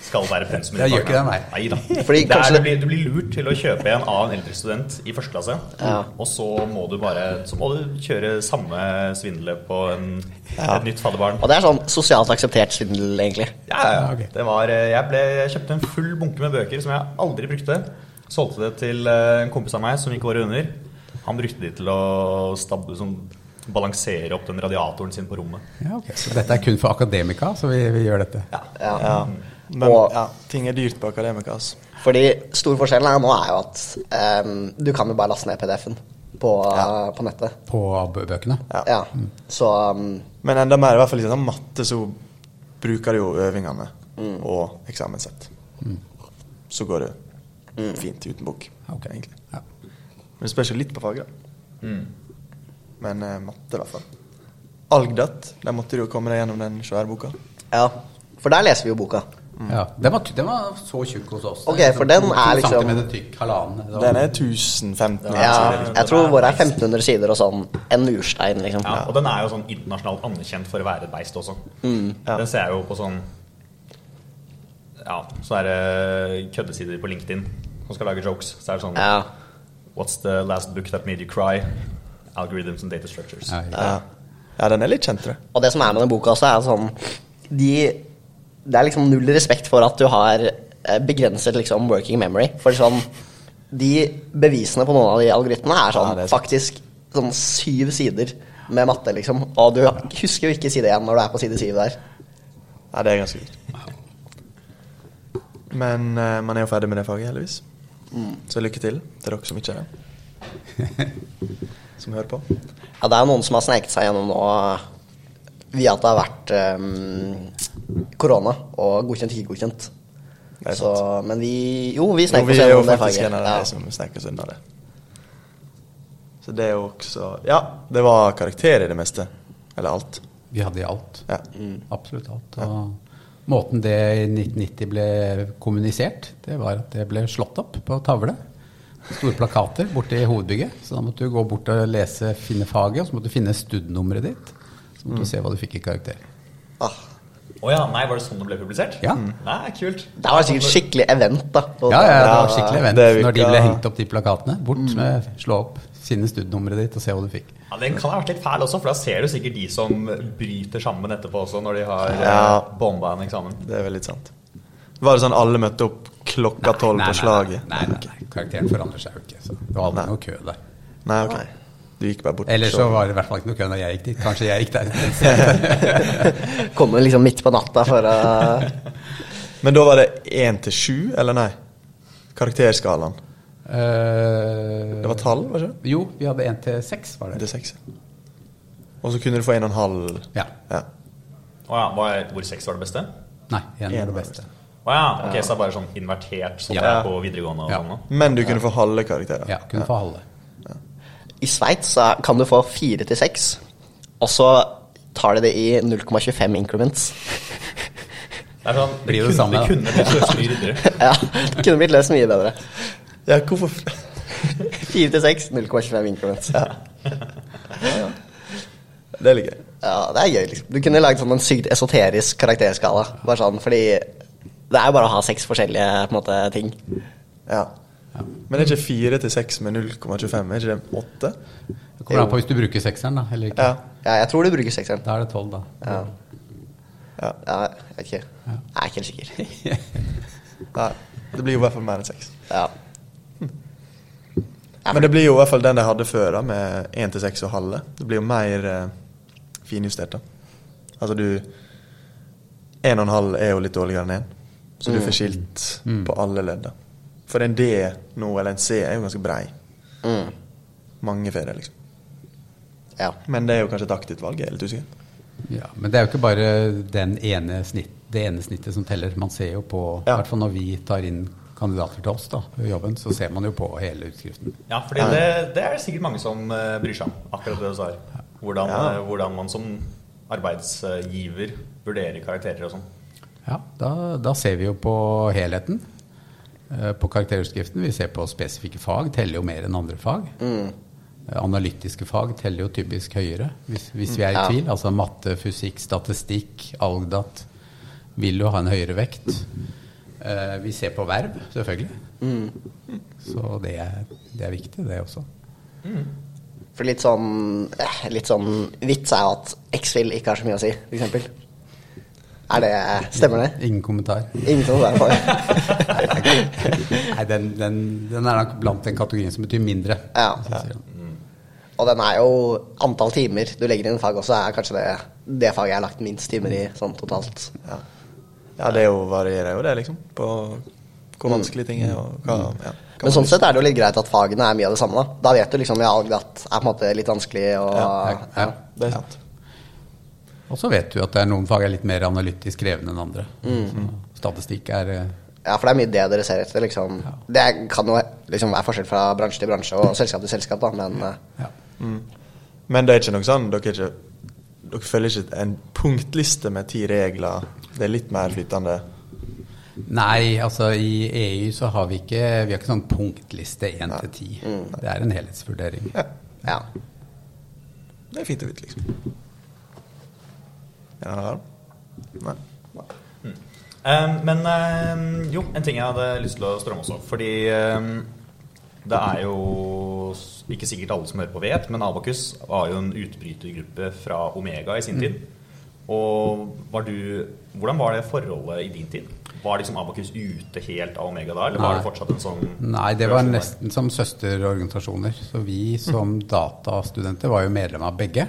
skal være pensum. i
Jeg
fagene.
gjør ikke det, nei.
Neida.
Fordi
det
kanskje-
er, du, blir, du blir lurt til å kjøpe en av en eldre student i første klasse,
Ja.
og så må du bare så må du kjøre samme svindle på en, et nytt fadderbarn.
Og det er sånn sosialt akseptert svindel, egentlig.
Ja, ja,
Ja,
ja.
ok.
Det var, eh, jeg, ble, jeg kjøpte en full bunke med bøker som jeg aldri brukte. Solgte det til eh, en kompis av meg som gikk året under. Han brukte de til å stabbe, sånn, balansere opp den radiatoren sin på rommet.
Ja, ok. Så dette er kun for akademika, så vi, vi gjør dette.
Ja.
Ja. Men
Og-
ja, ting er dyrt på akademika, altså.
Fordi stor forskjell her nå er jo at ehm, du kan jo bare laste ned PDF-en på, på nettet.
På bø- bøkene.
Ja.
Ja. Så um,
Men enda mer, i hvert fall i sånn matte, så bruker du jo øvingene
Mm.
og eksamenssett. Så går
Mm.
det fint uten bok,
Ok.
egentlig.
Ja.
Men det spørs jo litt på faget, da.
Mm.
Men eh, matte, i hvert fall. Algdat, der måtte du jo komme deg gjennom den svære boka.
ja. For der leser vi jo boka.
Ja. Den, var, ty- den var så tjukk hos oss.
Mm. Ok, for den er liksom-
Centimeter tykk, halvannen. Det var-
Den er 1015.
Ja,
altså.
jeg tror våre er 1500 sider og sånn. En murstein, liksom.
Ja, og den er jo sånn internasjonalt anerkjent for å være et beist også.
Ja.
Den ser jeg jo på sånn Ja, sånne der, eh, køddesider på LinkedIn som skal lage jokes. Så er det sånn
Ja.
What's the last book that made you cry? Algorithms and data structures.
Ja, ja.
Ja. ja, den er litt kjent, tror jeg.
Og det som er med den boka også, er sånn de, Det er liksom null respekt for at du har eh, begrenset liksom working memory. For sånn De bevisene på noen av de algoritmene er sånn
Ja, det er sant.
faktisk sånn syv sider med matte, liksom. Og du husker jo ikke side én når du er på side syv der.
Ja, det er ganske kult. Men eh, man er jo ferdig med det faget, heldigvis.
Mm.
Så lykke til til dere som ikke er det. Som hører på.
Ja, det er noen som har sneket seg gjennom nå via at det har vært eh, korona og godkjent, ikke godkjent.
Det er
Så, men vi Jo, vi
Jo,
snek
vi
oss
er jo
gjennom det
faktisk
faget.
en av de
Ja.
som sneker oss unna det. Så det er jo også Ja, det var karakter i det meste. Eller alt.
Vi hadde i alt.
Ja.
Mm.
Absolutt alt. Og måten det i 1990 ble kommunisert, det var at det ble slått opp på tavle. Store plakater borte i hovedbygget. Så da måtte du gå bort og lese, finne faget, og så måtte du finne studienummeret ditt. Så
Mm.
måtte du se hva du fikk i karakter.
Ah,
Å ja, nei, var det sånn det ble publisert?
Ja.
Nei, kult.
det var sikkert skikkelig event, da. Og
Ja, ja, det
da-
var skikkelig event
det Mm. virka-
når de ble hengt opp, de plakatene. Bort med slå opp, finne studienummeret ditt og se hva du fikk.
Ja, Den kan ha vært litt fæl også, for da ser du sikkert de som bryter sammen etterpå også, når de har
Ja.
eh, bomba en eksamen.
Det er veldig sant. Var det sånn alle møtte opp klokka tolv på slaget?
Nei, nei, nei, nei. Karakteren forandrer seg jo ikke. Så det var aldri noe kø der.
Nei, ok. Du gikk bare bort
Eller
til
så
showet.
var det i hvert fall ikke noe kø når jeg gikk dit. Kanskje jeg gikk der.
Kommer liksom midt på natta for eh, å
Men da var det én til sju, eller nei? Karakterskalaen.
Eh,
Det var tall, var det ikke?
Jo, vi hadde 1 til 6, var
Det
det.
er seks. Og så kunne du få en og en halv.
Ja.
Ja.
Å ja, var- hvor seks var det beste?
Nei,
En
1 var det
var
beste.
Å ja, ok, så det er bare sånn invertert, sånn
Ja.
det er på videregående og
Ja.
sånn nå.
Men du kunne få halve karakterer.
Ja, kunne få halve.
I Sveits så kan du få fire til seks, og så tar de det i 0,25 increments.
Det er sånn, det,
Blir jo
kunne,
det samme, da.
kunne blitt løst mye ryddere.
Ja, det kunne blitt løst mye bedre.
Ja, hvorfor f-
Fire til seks, 0,25 increments. Ja.
Det er litt gøy.
det er gøy, liksom. Du kunne lagd sånn en sykt esoterisk karakterskala. Bare sånn, fordi det er jo bare å ha seks forskjellige på en måte, ting.
Ja. Men er ikke fire til seks med 0,25? Er ikke det åtte?
Det kommer an på hvis du bruker sekseren, da. Eller ikke.
Ja.
Ja, jeg tror du bruker sekseren.
Da er det 12, da.
Ja.
Ja.
Ja, jeg vet ikke. Jeg er ikke helt sikker.
Nei. Det blir jo i hvert fall mer enn seks.
Ja. Ja,
Men det blir jo i hvert fall den de hadde før, da, med én til seks og halve. Det blir jo mer eh, finjustert, da. Altså du Én og en halv er jo litt dårligere enn én, så
Mm.
du får skilt på alle ledd. da. For en D nå, eller en C, er jo ganske brei.
Mm.
Mange får det, liksom.
Ja.
Men det er jo kanskje et aktivt valg, jeg er litt usikker.
Ja, men det er jo ikke bare den ene snitt, det ene snittet som teller. Man ser jo på, i
Ja.
hvert fall når vi tar inn kandidater til oss da, i jobben, så ser man jo på hele utskriften.
Ja, for det, det er det sikkert mange som eh, bryr seg om, akkurat det du sa her. Hvordan, eh, hvordan man som arbeidsgiver vurderer karakterer og sånn.
Ja, da, da ser vi jo på helheten. eh, På karakterutskriften. Vi ser på spesifikke fag, teller jo mer enn andre fag.
Mm.
Eh, Analytiske fag teller jo typisk høyere, hvis, hvis vi er i
Mm. Ja.
tvil. Altså matte, fysikk, statistikk, algdat. Vil jo ha en høyere vekt. Eh, Vi ser på verv, selvfølgelig.
Mm.
Så det er, det er viktig, det også.
For litt sånn, eh, litt sånn vits er jo at X-Fill ikke har så mye å si, for eksempel. Er det, stemmer det?
Ingen kommentar.
Ingen som er for det.
Nei, den, den, den er nok blant den kategorien som betyr mindre.
Ja.
Så sier han.
Og den er jo antall timer du legger inn i fag også, er kanskje det, det faget jeg har lagt minst timer i sånn totalt.
Ja, ja det er jo, varierer jo det, liksom. På hvor vanskelige ting er, og hva ja. hva
Men
man
sånn sett er det jo litt greit at fagene er mye av det samme, da. Da vet du liksom ja, algdat er på en måte litt vanskelig og
Ja, ja.
Det er sant.
Og så vet du at det er noen fag er litt mer analytisk krevende enn andre. Så Statistikk er eh,
Ja, for det er mye det dere ser etter, liksom. Det kan jo liksom være forskjell fra bransje til bransje og selskap til selskap, da, men eh,
ja.
Men det er ikke noe sånn Dere, er ikke, dere følger ikke en punktliste med ti regler? Det er litt mer flytende?
Nei, altså i EU så har vi ikke Vi har ikke sånn punktliste 1 til 10. Det er en helhetsvurdering.
Ja.
ja.
Det er fint å vite, liksom. Er det en alarm? Nei.
Eh, Men eh, jo, en ting jeg hadde lyst til å strømme også. Fordi eh, det er jo s- ikke sikkert alle som hører på vet, men Abakus var jo en utbrytergruppe fra Omega i
Mm.
sin tid. Og var du, hvordan var det forholdet i din tid? Var liksom Abakus ute helt av Omega da, eller var det
Nei.
fortsatt en sånn
Nei, det var
rørsel der?
nesten som
Mm.
søsterorganisasjoner. Så vi som datastudenter var jo medlem av begge.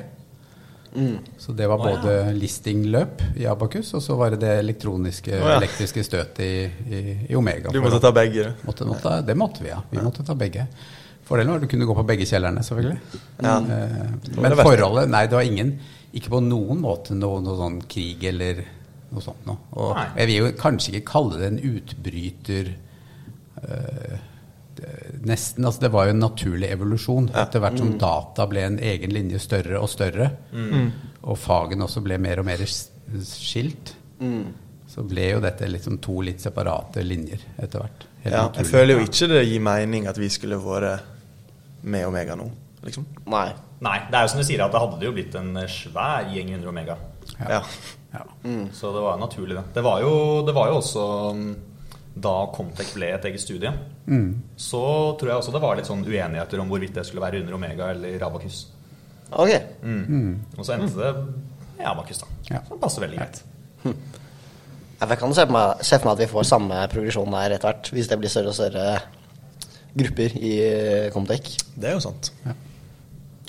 Mm.
Så det var både listingløp i Abakus, og så var det det elektroniske
Å, ja.
elektriske støtet i, i, i Omega.
Du måtte ta begge, du.
Måtte, måtte, det måtte vi, ja. Vi måtte ta begge. Fordelen var at du kunne gå på begge kjellerne, selvfølgelig.
Ja.
Eh,
var
Men
det verste.
forholdet Nei, det var ingen Ikke på noen måte noe, noe sånn krig eller noe sånt noe. Og
Nei.
jeg vil jo kanskje ikke kalle det en utbryter eh, det- Nesten. Altså, det var jo en naturlig evolusjon. Etter hvert
Mm.
som data ble en egen linje større og større, og fagene også ble mer og mer s- skilt,
Mm.
så ble jo dette liksom to litt separate linjer etter hvert. Helt
Ja, jeg
naturlig.
føler jo ikke det gir mening at vi skulle vært med Omega nå, liksom.
Nei.
Nei, det er jo som du sier at det hadde jo blitt en svær gjeng 100 Omega.
Ja.
Ja.
Mm.
Så det var jo naturlig, det. Det var jo, det var jo også mm, da Comtec ble et eget studie. Så tror jeg også det var litt sånn uenigheter om hvorvidt det skulle være under Omega eller Abakus.
Ok.
Og så endte det i Abakus, da.
Ja.
Så det passer veldig greit.
Jeg kan jo se for meg, se for meg at vi får samme progresjon der etter hvert, hvis det blir større og større grupper i eh, Comtec.
Det er jo sant.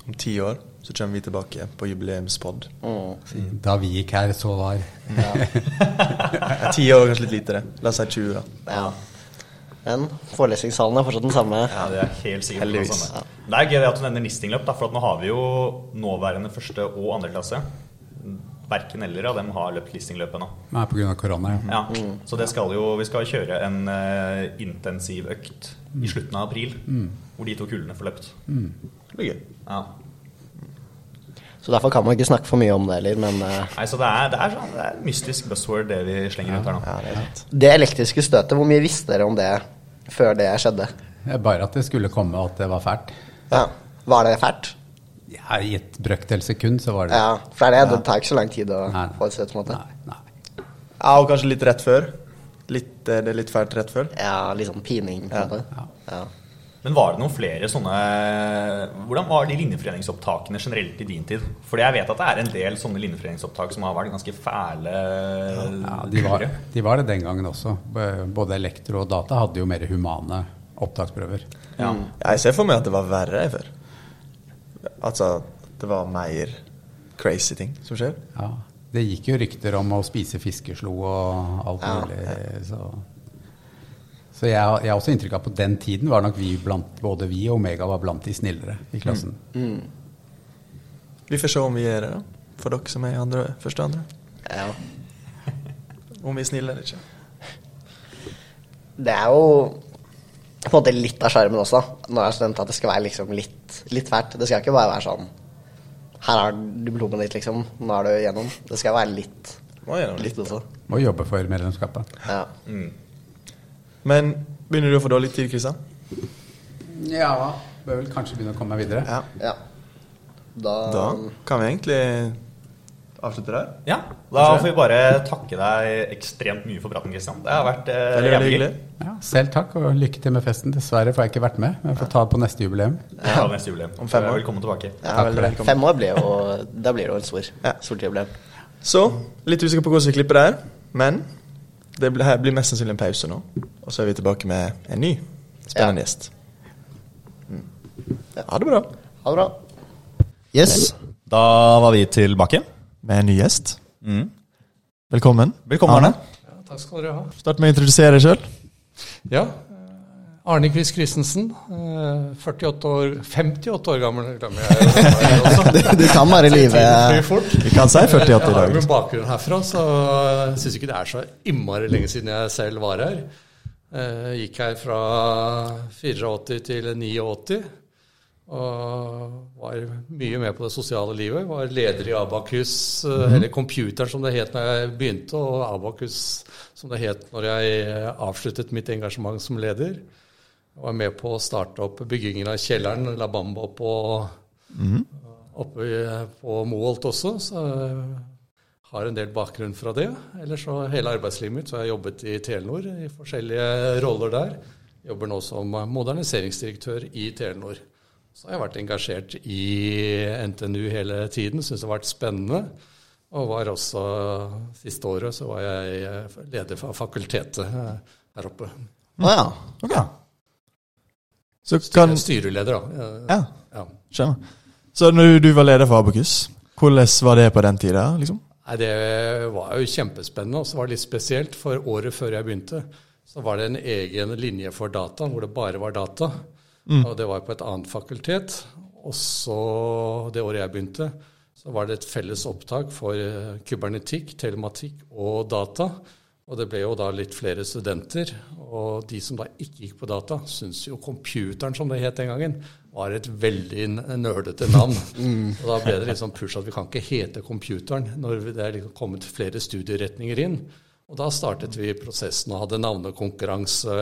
Om ti år så kommer vi tilbake på jubileumspod.
Mm.
Da vi gikk her, så var
Ja, Ti år er kanskje litt lite, det. La oss si 20, da.
Ja. Men forelesningssalen er fortsatt den samme.
Ja, det er helt sikkert noe
Heldigvis.
samme. Det er gøy at du nevner listingløp, da, for at nå har vi jo nåværende første og andre klasse. Verken eller av dem har løpt listingløp ennå.
Nei, på grunn av korona,
Mm.
ja.
Ja, så det skal jo, vi skal kjøre en eh, intensiv økt i slutten av april, hvor de to kullene får løpt.
Mm. Det blir gøy.
Ja.
Så derfor kan man ikke snakke for mye om det heller, men eh,
Nei, så det er, det, er, sånn- det er et mystisk buzzword det vi slenger ut her nå.
Ja, det er sant.
det elektriske støtet, hvor mye visste dere om det før det skjedde?
Det er Bare at det skulle komme, og at det var fælt.
Ja. Var det fælt?
Ja, I et brøkdel sekund så var det
Ja, for det er det. Det tar ikke så lang tid å
Nei, nei.
få et støt, på en måte.
Nei, nei.
Ja, og kanskje litt rett før. Litt, eh, det er litt fælt rett før.
Ja, litt sånn pining, på en måte.
Ja.
Ja.
Men var det noen flere sånne Hvordan var de linjeforeningsopptakene generelt i din tid? Fordi jeg vet at det er en del sånne linjeforeningsopptak som har vært ganske fæle
Ja, de, var, de var det den gangen også. B- Både elektro og data hadde jo mer humane opptaksprøver.
Ja.
Ja, jeg ser for meg at det var verre enn før. Altså, det var mer crazy ting som skjer.
Ja. Det gikk jo rykter om å spise fiskeslo og alt mulig. Så, så jeg, har- jeg har også inntrykk av at på den tiden var nok vi blant, både vi og Omega var blant de snillere i klassen.
Mm.
Vi får se om vi gjør det, da. For dere som er i andre, første og andre.
ja.
Om vi er snille eller ikke.
Det er jo på en måte litt av sjarmen også, da, når jeg er student, at det skal være liksom litt, litt fælt. Det skal ikke bare være sånn Her er diplomet ditt, liksom. Nå er du igjennom. Det skal være litt,
Må gjennom litt.
litt også.
Må jobbe for medlemskapet.
Ja.
Men begynner du å få dårlig tid, Kristian?
Ja, bør vel kanskje begynne å komme meg videre.
Ja.
ja. Da,
Da kan vi egentlig avslutte der.
ja. Da får vi bare takke deg ekstremt mye for praten, Kristian. Det har vært eh,
Veldig, veldig
jævlig
hyggelig.
Ja, selv takk, og lykke til med festen. Dessverre får jeg ikke vært med, men jeg får ta det på neste jubileum.
Det var neste jubileum.
Om fem
Du er
år.
Velkommen tilbake.
ja,
Takk for
veldig
det.
velkommen.
Fem år blir jo Da blir det jo en stor,
Ja.
stort jubileum.
Så, litt usikker på hvordan vi klipper det her, men det blir, her blir mest sannsynlig en pause nå. Og så er vi tilbake med en ny spennende
Ja.
gjest. Mm. Ha det bra.
Ha det bra. Yes.
Da var vi tilbake.
Med en ny gjest. Velkommen.
Velkommen, Arne.
Takk skal dere ha.
Start med å introdusere deg sjøl.
Ja. eh, Arne Chris Christensen, eh, 48 år 58 år gammel, glemmer jeg. jo også.
Du, du kan bare live
Flyr fort.
Vi kan si 48
Jeg
i
har jo
dag.
min bakgrunn herfra, så jeg syns ikke det er så innmari lenge siden jeg selv var her. Eh, Gikk her fra 84 til 89. Og var mye med på det sosiale livet. Var leder i Abakus, eh,
Mhm.
eller Computer som det het da jeg begynte, og Abakus som det het når jeg eh, avsluttet mitt engasjement som leder. Var med på å starte opp byggingen av kjelleren, La Bamba på oppe i- på Moholt også, så jeg har en del bakgrunn fra det. Ellers så hele arbeidslivet mitt, så har jeg jobbet i Telenor i forskjellige roller der. Jobber nå som moderniseringsdirektør i Telenor. Så har jeg vært engasjert i NTNU hele tiden, syns det har vært spennende. Og var også siste året så var jeg eh, leder for fakultetet eh, her oppe.
Å ja.
Ok. Så kan
Styreleder, da. Eh,
Ja,
Ja.
skjønner. Så når du var leder for Abokus, Hvordan var det på den tida? Liksom?
Nei, Det var jo kjempespennende, og så var det litt spesielt, for året før jeg begynte, så var det en egen linje for data, hvor det bare var data. Og det var på et annet fakultet. Og så, det året jeg begynte, så var det et felles opptak for eh, kybernetikk, telematikk og data. Og det ble jo da litt flere studenter. Og de som da ikke gikk på data, syntes jo computeren, som det het den gangen, var et veldig n- nerdete navn.
Mm.
Og da ble det liksom push at vi kan ikke hete computeren når vi- det er liksom kommet flere studieretninger inn. Og da startet vi prosessen og hadde navnekonkurranse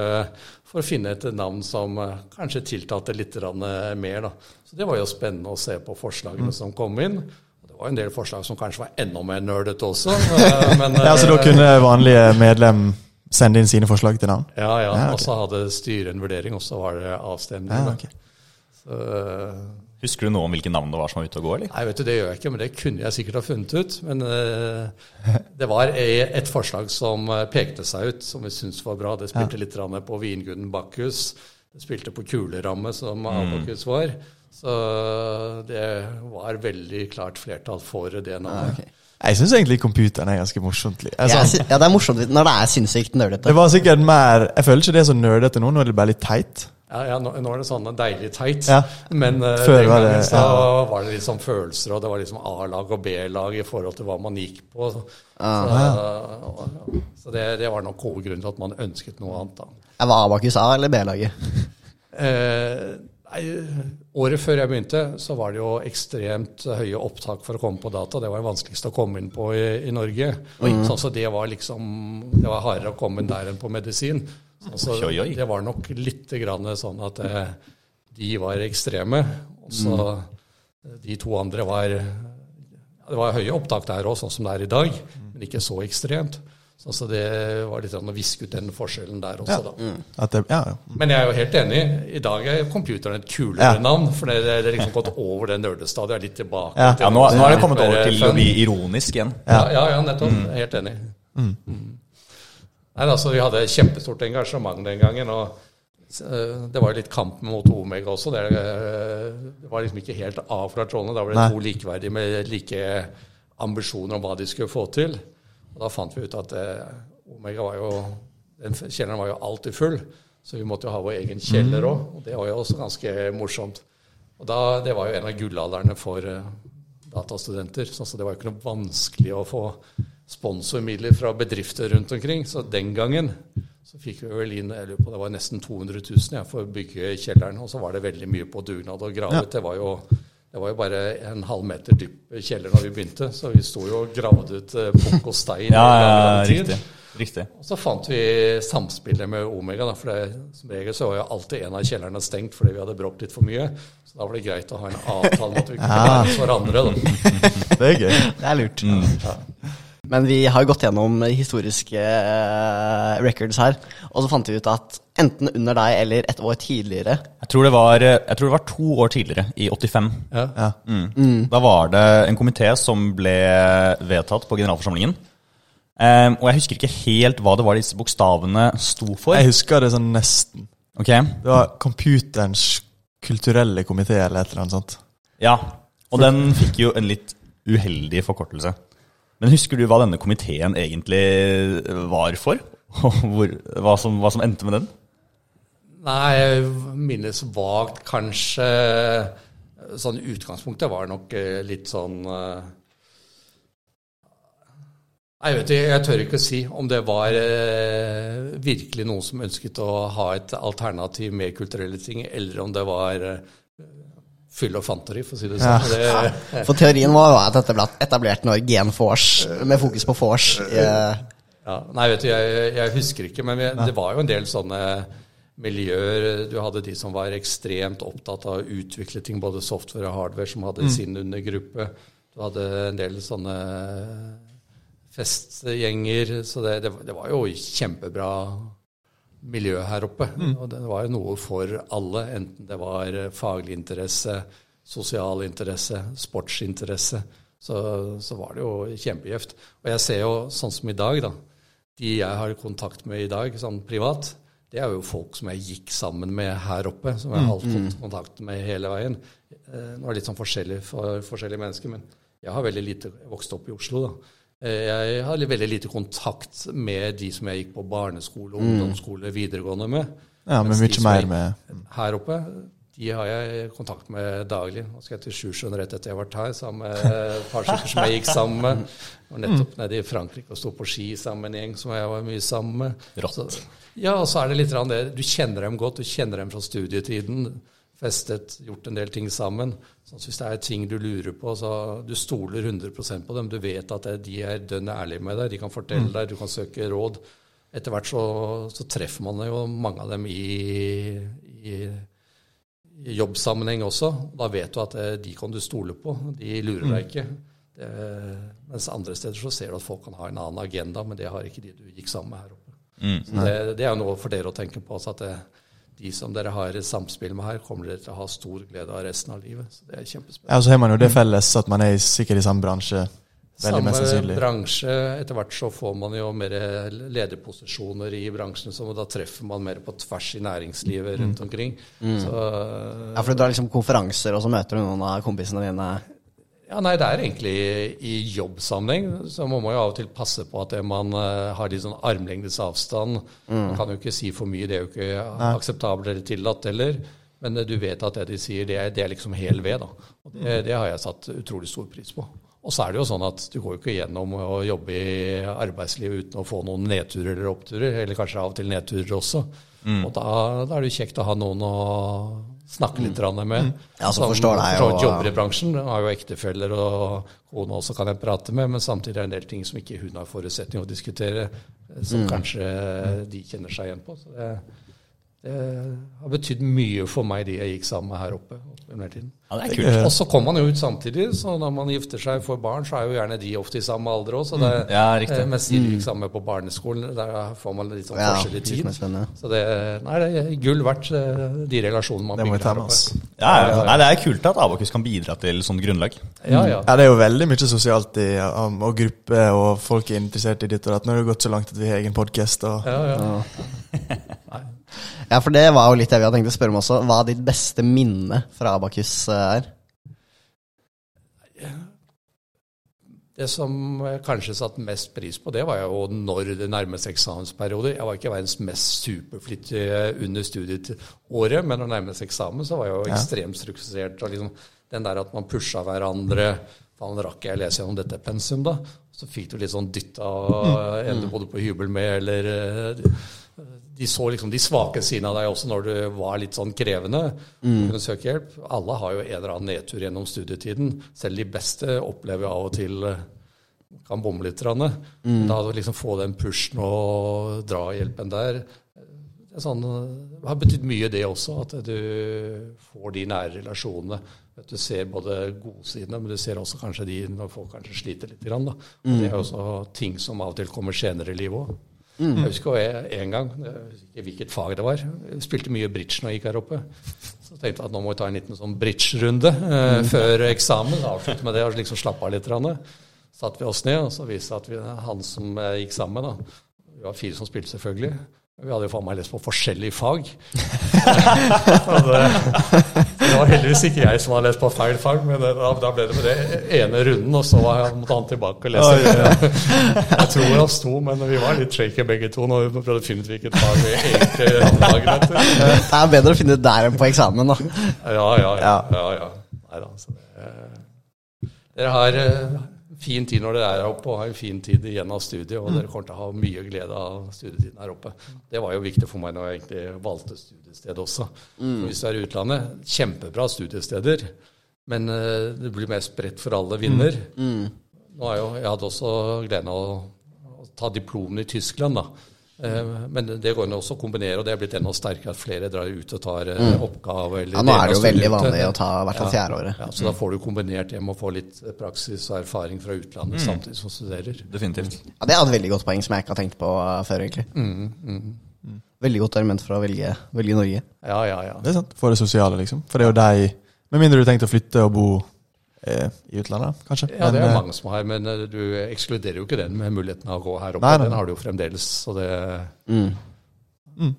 for å finne et navn som eh, kanskje tiltalte litt grann, eh, mer. Da. Så det var jo spennende å se på
Mm.
forslagene som kom inn. Og Det var en del forslag som kanskje var enda mer nerdete også. eh, Men,
Ja, så da
eh,
kunne vanlige medlem sende inn sine forslag til navn?
ja, ja.
Ja, ok.
Og så hadde styret en vurdering, og så var det avstemning.
Ja,
da.
ok.
Så, eh,
Husker du noe om hvilke navn det var som var ute og gå, eller?
nei, vet du, det gjør jeg ikke, men det kunne jeg sikkert ha funnet ut. Men eh, det var e- et forslag som eh, pekte seg ut, som vi syntes var bra. Det spilte litt grann på vinguden Bakkus. Det spilte på kuleramme, som
Mm.
Abakus var. Så det var veldig klart flertall for det navnet.
Jeg syns egentlig computeren er ganske morsomt. li-
Jeg
Altså,
sy- ja, det er morsomt når det er sinnssykt nerdete.
det var sikkert mer Jeg føler ikke det er så nerdete nå, nå er det bare litt teit.
Ja, ja nå, nå er det sånn deilig teit,
Ja.
men eh,
Før
den
var
gangen
det-
så
ja.
var det liksom følelser, og det var liksom A-lag og B-lag i forhold til hva man gikk på. Så,
Ah.
så, så det, det var nok hovedgrunnen til at man ønsket noe annet, da.
Jeg var Abakus A eller B-laget?
Eh, nei, året før jeg begynte, så var det jo ekstremt høye opptak for å komme på data. Det var det vanskeligste å komme inn på i, i Norge. Sånn så det var liksom Det var hardere å komme inn der enn på medisin. Sånn så
Oi, oi.
det var nok litt grann sånn at eh, de var ekstreme. Og så
Mm.
eh, de to andre var ja, Det var høye opptak der òg, sånn som det er i dag,
Mm.
men ikke så ekstremt. Sånn så det var litt sånn å viske ut den forskjellen der også,
Mm.
da.
At det, ja, ja.
Men jeg er jo helt enig. I dag er computeren et kulere
Ja.
navn. For det det er liksom gått over det nerdestadiet. er Litt tilbake.
Ja.
til
Ja, nå, nå er det
litt
kommet
mer
over til å
fun.
bli ironisk igjen.
Ja, ja, ja nettopp. Jeg er Helt enig. Mm. Nei, altså, Vi hadde kjempestort engasjement den gangen. og eh, det var jo litt kamp mot Omega også. Det, eh, det var liksom ikke helt av fra trollene. Da ble det
Nei.
to likeverdige med like ambisjoner om hva de skulle få til. Og da fant vi ut at eh, Omega var jo den f- Kjelleren var jo alltid full, så vi måtte jo ha vår egen kjeller òg. Og det var jo også ganske morsomt. Og da, Det var jo en av gullalderne for eh, datastudenter. Så så det var jo ikke noe vanskelig å få sponsormidler fra bedrifter rundt omkring. Så den gangen så fikk vi vel inn jeg lurer på, det var nesten 200 000 ja, for å bygge kjelleren. Og så var det veldig mye på dugnad og gravet. Det var jo det var jo bare en halv meter dyp kjeller da vi begynte, så vi sto jo og gravde ut eh, pukk og stein. i
Ja, ja, ja,
lang, lang tid.
riktig. Riktig.
Og så fant vi samspillet med Omega, da, for det, som regel så var jo alltid en av kjellerne stengt fordi vi hadde bråkt litt for mye. Så da var det greit å ha en avtale om at vi kunne
Ah.
være hos hverandre. Da.
Det er gøy.
Det er lurt. Men vi har gått gjennom historiske eh, records her, og så fant vi ut at enten under deg eller et år tidligere
Jeg tror, det var, jeg tror det var to år tidligere, i 85.
Ja. Mm.
Da var det en komité som ble vedtatt på generalforsamlingen. Eh, og jeg husker ikke helt hva det var disse bokstavene sto for.
Jeg husker det sånn nesten.
Ok,
Det var Computerens kulturelle komité eller et eller annet sånt.
ja. Og den fikk jo en litt uheldig forkortelse. Men husker du hva denne komiteen egentlig var for? Og hvor, hva, som, hva som endte med den?
Nei, jeg minnes vagt kanskje Sånn utgangspunktet var nok eh, litt sånn eh, Nei, vet du, jeg tør ikke si om det var eh, virkelig noen som ønsket å ha et alternativ med kulturelle ting, eller om det var eh, fyll og fanteri, for å si det sånn. Det,
For teorien vår var at dette ble etablert når Gen Force, med fokus på Force. eh,
Ja, nei, vet du, jeg, jeg husker ikke, men vi, det var jo en del sånne miljøer. Du hadde de som var ekstremt opptatt av å utvikle ting, både software og hardware, som hadde sin undergruppe. Du hadde en del sånne festgjenger. Så det, det, var- det var jo kjempebra miljø her oppe. Og det var jo noe for alle, enten det var eh, faglig interesse, sosial interesse, sportsinteresse. Så, så var det jo kjempegjevt. Og jeg ser jo sånn som i dag, da. De jeg har kontakt med i dag, sånn privat, det er jo folk som jeg gikk sammen med her oppe. Som jeg har holdt kontakt med hele veien. Eh, Nå er det litt sånn forskjellig for forskjellige mennesker, men Jeg har veldig lite jeg vokste opp i Oslo, da. Eh, Jeg har li- veldig lite kontakt med de som jeg gikk på barneskole, ungdomsskole, videregående med.
Mm. Ja, men
Mens de
mye
som
mer
jeg-
med
Her oppe de har jeg kontakt med daglig. Nå skal jeg til Sjusjøen rett etter jeg har vært her, sammen med et par stykker som jeg gikk sammen med. Jeg Var nettopp nede i Frankrike og sto på ski sammen med en gjeng som jeg var mye sammen med. Så- Ja, og så er det litt grann det. Du kjenner dem godt. Du kjenner dem fra studietiden. Festet, gjort en del ting sammen. Sånn, så hvis det er ting du lurer på, så du stoler 100 på dem. Du vet at det- de er dønn ærlige med deg. De kan fortelle deg, du kan søke råd etter hvert så, så treffer man jo mange av dem i, i, i jobbsammenheng også. Da vet du at eh, de kan du stole på, de lurer deg ikke. Det, mens andre steder så ser du at folk kan ha en annen agenda, men det har ikke de du gikk sammen med her oppe. Så det, det er jo noe for dere å tenke på. Altså at det, de som dere har et samspill med her, kommer dere til å ha stor glede av resten av livet. Så det er kjempespennende.
Ja, og så har man jo det felles at man er i- sikkert i samme bransje. Veldig mest
Mm. Samme
sannsynlig.
bransje. Etter hvert så får man jo mer lederposisjoner i bransjen, så da treffer man mer på tvers i næringslivet
Mm.
rundt omkring. Så
Ja, for du drar liksom konferanser, og så møter du noen av kompisene dine.
Ja, nei, det er egentlig i jobbsammenheng, så man må jo av og til passe på at det man eh, har litt sånn armlengdes avstand. Man kan jo ikke si for mye, det er jo ikke akseptabelt eller tillatt heller. Men eh, du vet at det de sier, det er, det er liksom hel ved, da. Og det, det har jeg satt utrolig stor pris på. Og så er det jo sånn at du går jo ikke gjennom å jobbe i arbeidslivet uten å få noen nedturer eller oppturer, eller kanskje av og til nedturer også. Og da, da er det jo kjekt å ha noen å snakke litt grann med.
Mm. Ja, som forstår deg,
for så vidt
og-
jobber i bransjen. Jeg har jo ektefeller og kone også kan jeg prate med, men samtidig er det en del ting som ikke hun har forutsetning å diskutere, eh,
Mm.
som kanskje de kjenner seg igjen på. Så det, det har betydd mye for meg, de jeg gikk sammen med her oppe. opp under tiden.
Ja, det er kult.
Og så kommer man jo ut samtidig, så når man gifter seg for barn, så er jo gjerne de ofte i samme alder òg.
Mm.
Ja, riktig.
Mens eh, de gikk sammen på barneskolen, der får man litt sånn
Ja,
forskjellig
litt mer
tid.
spennende.
Så det, nei, det er gull verdt, eh, de relasjonene man
Det må vi
bygger
ta
her
med oss.
oppe.
Ja, ja. Nei, det er kult at Abakus kan bidra til sånn grunnlag.
Ja, ja.
Mm. Ja, Det er jo veldig mye sosialt i, um, og gruppe, og folk er interessert i ditt og datt. Nå har det gått så langt at vi har egen podkast. Og...
ja, ja.
Ja, for det var jo litt det vi hadde tenkt å spørre om også. Hva er ditt beste minne fra Abakus eh, er?
Det som jeg kanskje satte mest pris på, det var jo når det nærmet seg eksamensperiode. Jeg var ikke verdens mest superflittige under studieåret, men når det nærmet seg eksamen, så var jeg jo ekstremt strukturert. Og liksom, den der at man pusha hverandre Faen, rakk jeg å lese gjennom dette pensum, da? Så fikk du litt sånn dytt av en du bodde på hybel med, eller eh, de så liksom de svake sidene av deg også når du var litt sånn krevende. og Kunne søke hjelp. Alle har jo en eller annen nedtur gjennom studietiden. Selv de beste opplever jo av og til eh, kan bomme litt. grann. Da å liksom få den pushen og drahjelpen der det, er sånn, eh, har betydd mye, det også. At du får de nære relasjonene. At du ser både godsidene, men du ser også kanskje de når folk kanskje sliter litt. Grann, da. Og Det er jo også ting som av og til kommer senere i livet òg. Jeg husker jeg en gang, jeg husker ikke hvilket fag det var, jeg spilte mye bridge når jeg gikk her oppe. Så tenkte jeg at nå må vi ta en liten sånn bridge-runde eh, før eksamen. Avslutte med det og liksom slappe av litt. grann. Satt vi oss ned, og så viste det seg at vi, han som eh, gikk sammen da, Vi var fire som spilte, selvfølgelig. Vi hadde jo faen meg lest på forskjellige fag. Og det, det var heldigvis ikke jeg som hadde lest på feil fag, men det, da, da ble det med det ene runden, og så var- måtte han tilbake og lese. Jeg tror han sto, men vi var litt shaky begge to når vi prøvde å finne ut hvilket fag vi egentlig hadde dagen etter.
Det er bedre å finne det der enn på eksamen, da.
Ja, ja, ja. ja, ja. Neida, så det, dere har eh, fin tid når dere er her oppe, og har en fin tid igjen av studiet, og dere kommer til å ha mye glede av studietiden her oppe. Det var jo viktig for meg når jeg egentlig valgte studiested også. Hvis du er i utlandet, kjempebra studiesteder, men eh, det blir mer spredt for alle vinner. Nå er jo, jeg hadde også gleden av å, å ta diplomen i Tyskland, da. Eh, Men det går an også å kombinere, og det er blitt enda sterkere at flere drar ut og tar eh, oppgave.
Mm.
Eller
Ja, nå
deler
er det
av
jo veldig
studiet.
vanlig å ta Mm. i hvert fall fjerdeåret.
Ja, så da får du kombinert det med å få litt eh, praksis og erfaring fra utlandet samtidig som studerer.
Definitivt.
Ja, det er et veldig godt poeng som jeg ikke har tenkt på eh, før, egentlig.
Mm,
Veldig godt argument for å velge, velge Norge.
Ja, ja, ja.
Det er sant. For det sosiale, liksom. For det er jo de Med mindre du har tenkt å flytte og bo eh, i utlandet, kanskje.
Ja, det er
eh,
mange som har, men eh, du ekskluderer jo ikke den med muligheten av å gå her oppe.
Nei, nei. mm.
Mm. Den har du jo fremdeles, så det
Mm.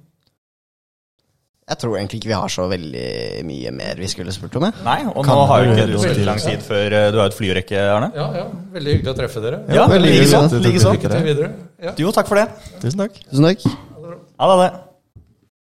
Jeg tror egentlig ikke vi har så veldig mye mer vi skulle spurt om. Jeg.
Nei, og nå
Kan
har jo
du
ikke du
redde oss
så
til?
lang tid før eh, du har et flyrekke, Arne.
Ja, ja. Veldig hyggelig å treffe dere.
Ja, veldig
likeså,
hyggelig at du tok
likeså.
det.
Lykke til videre. Ja.
Jo, takk for det.
Tusen takk.
Tusen takk.
Ha det.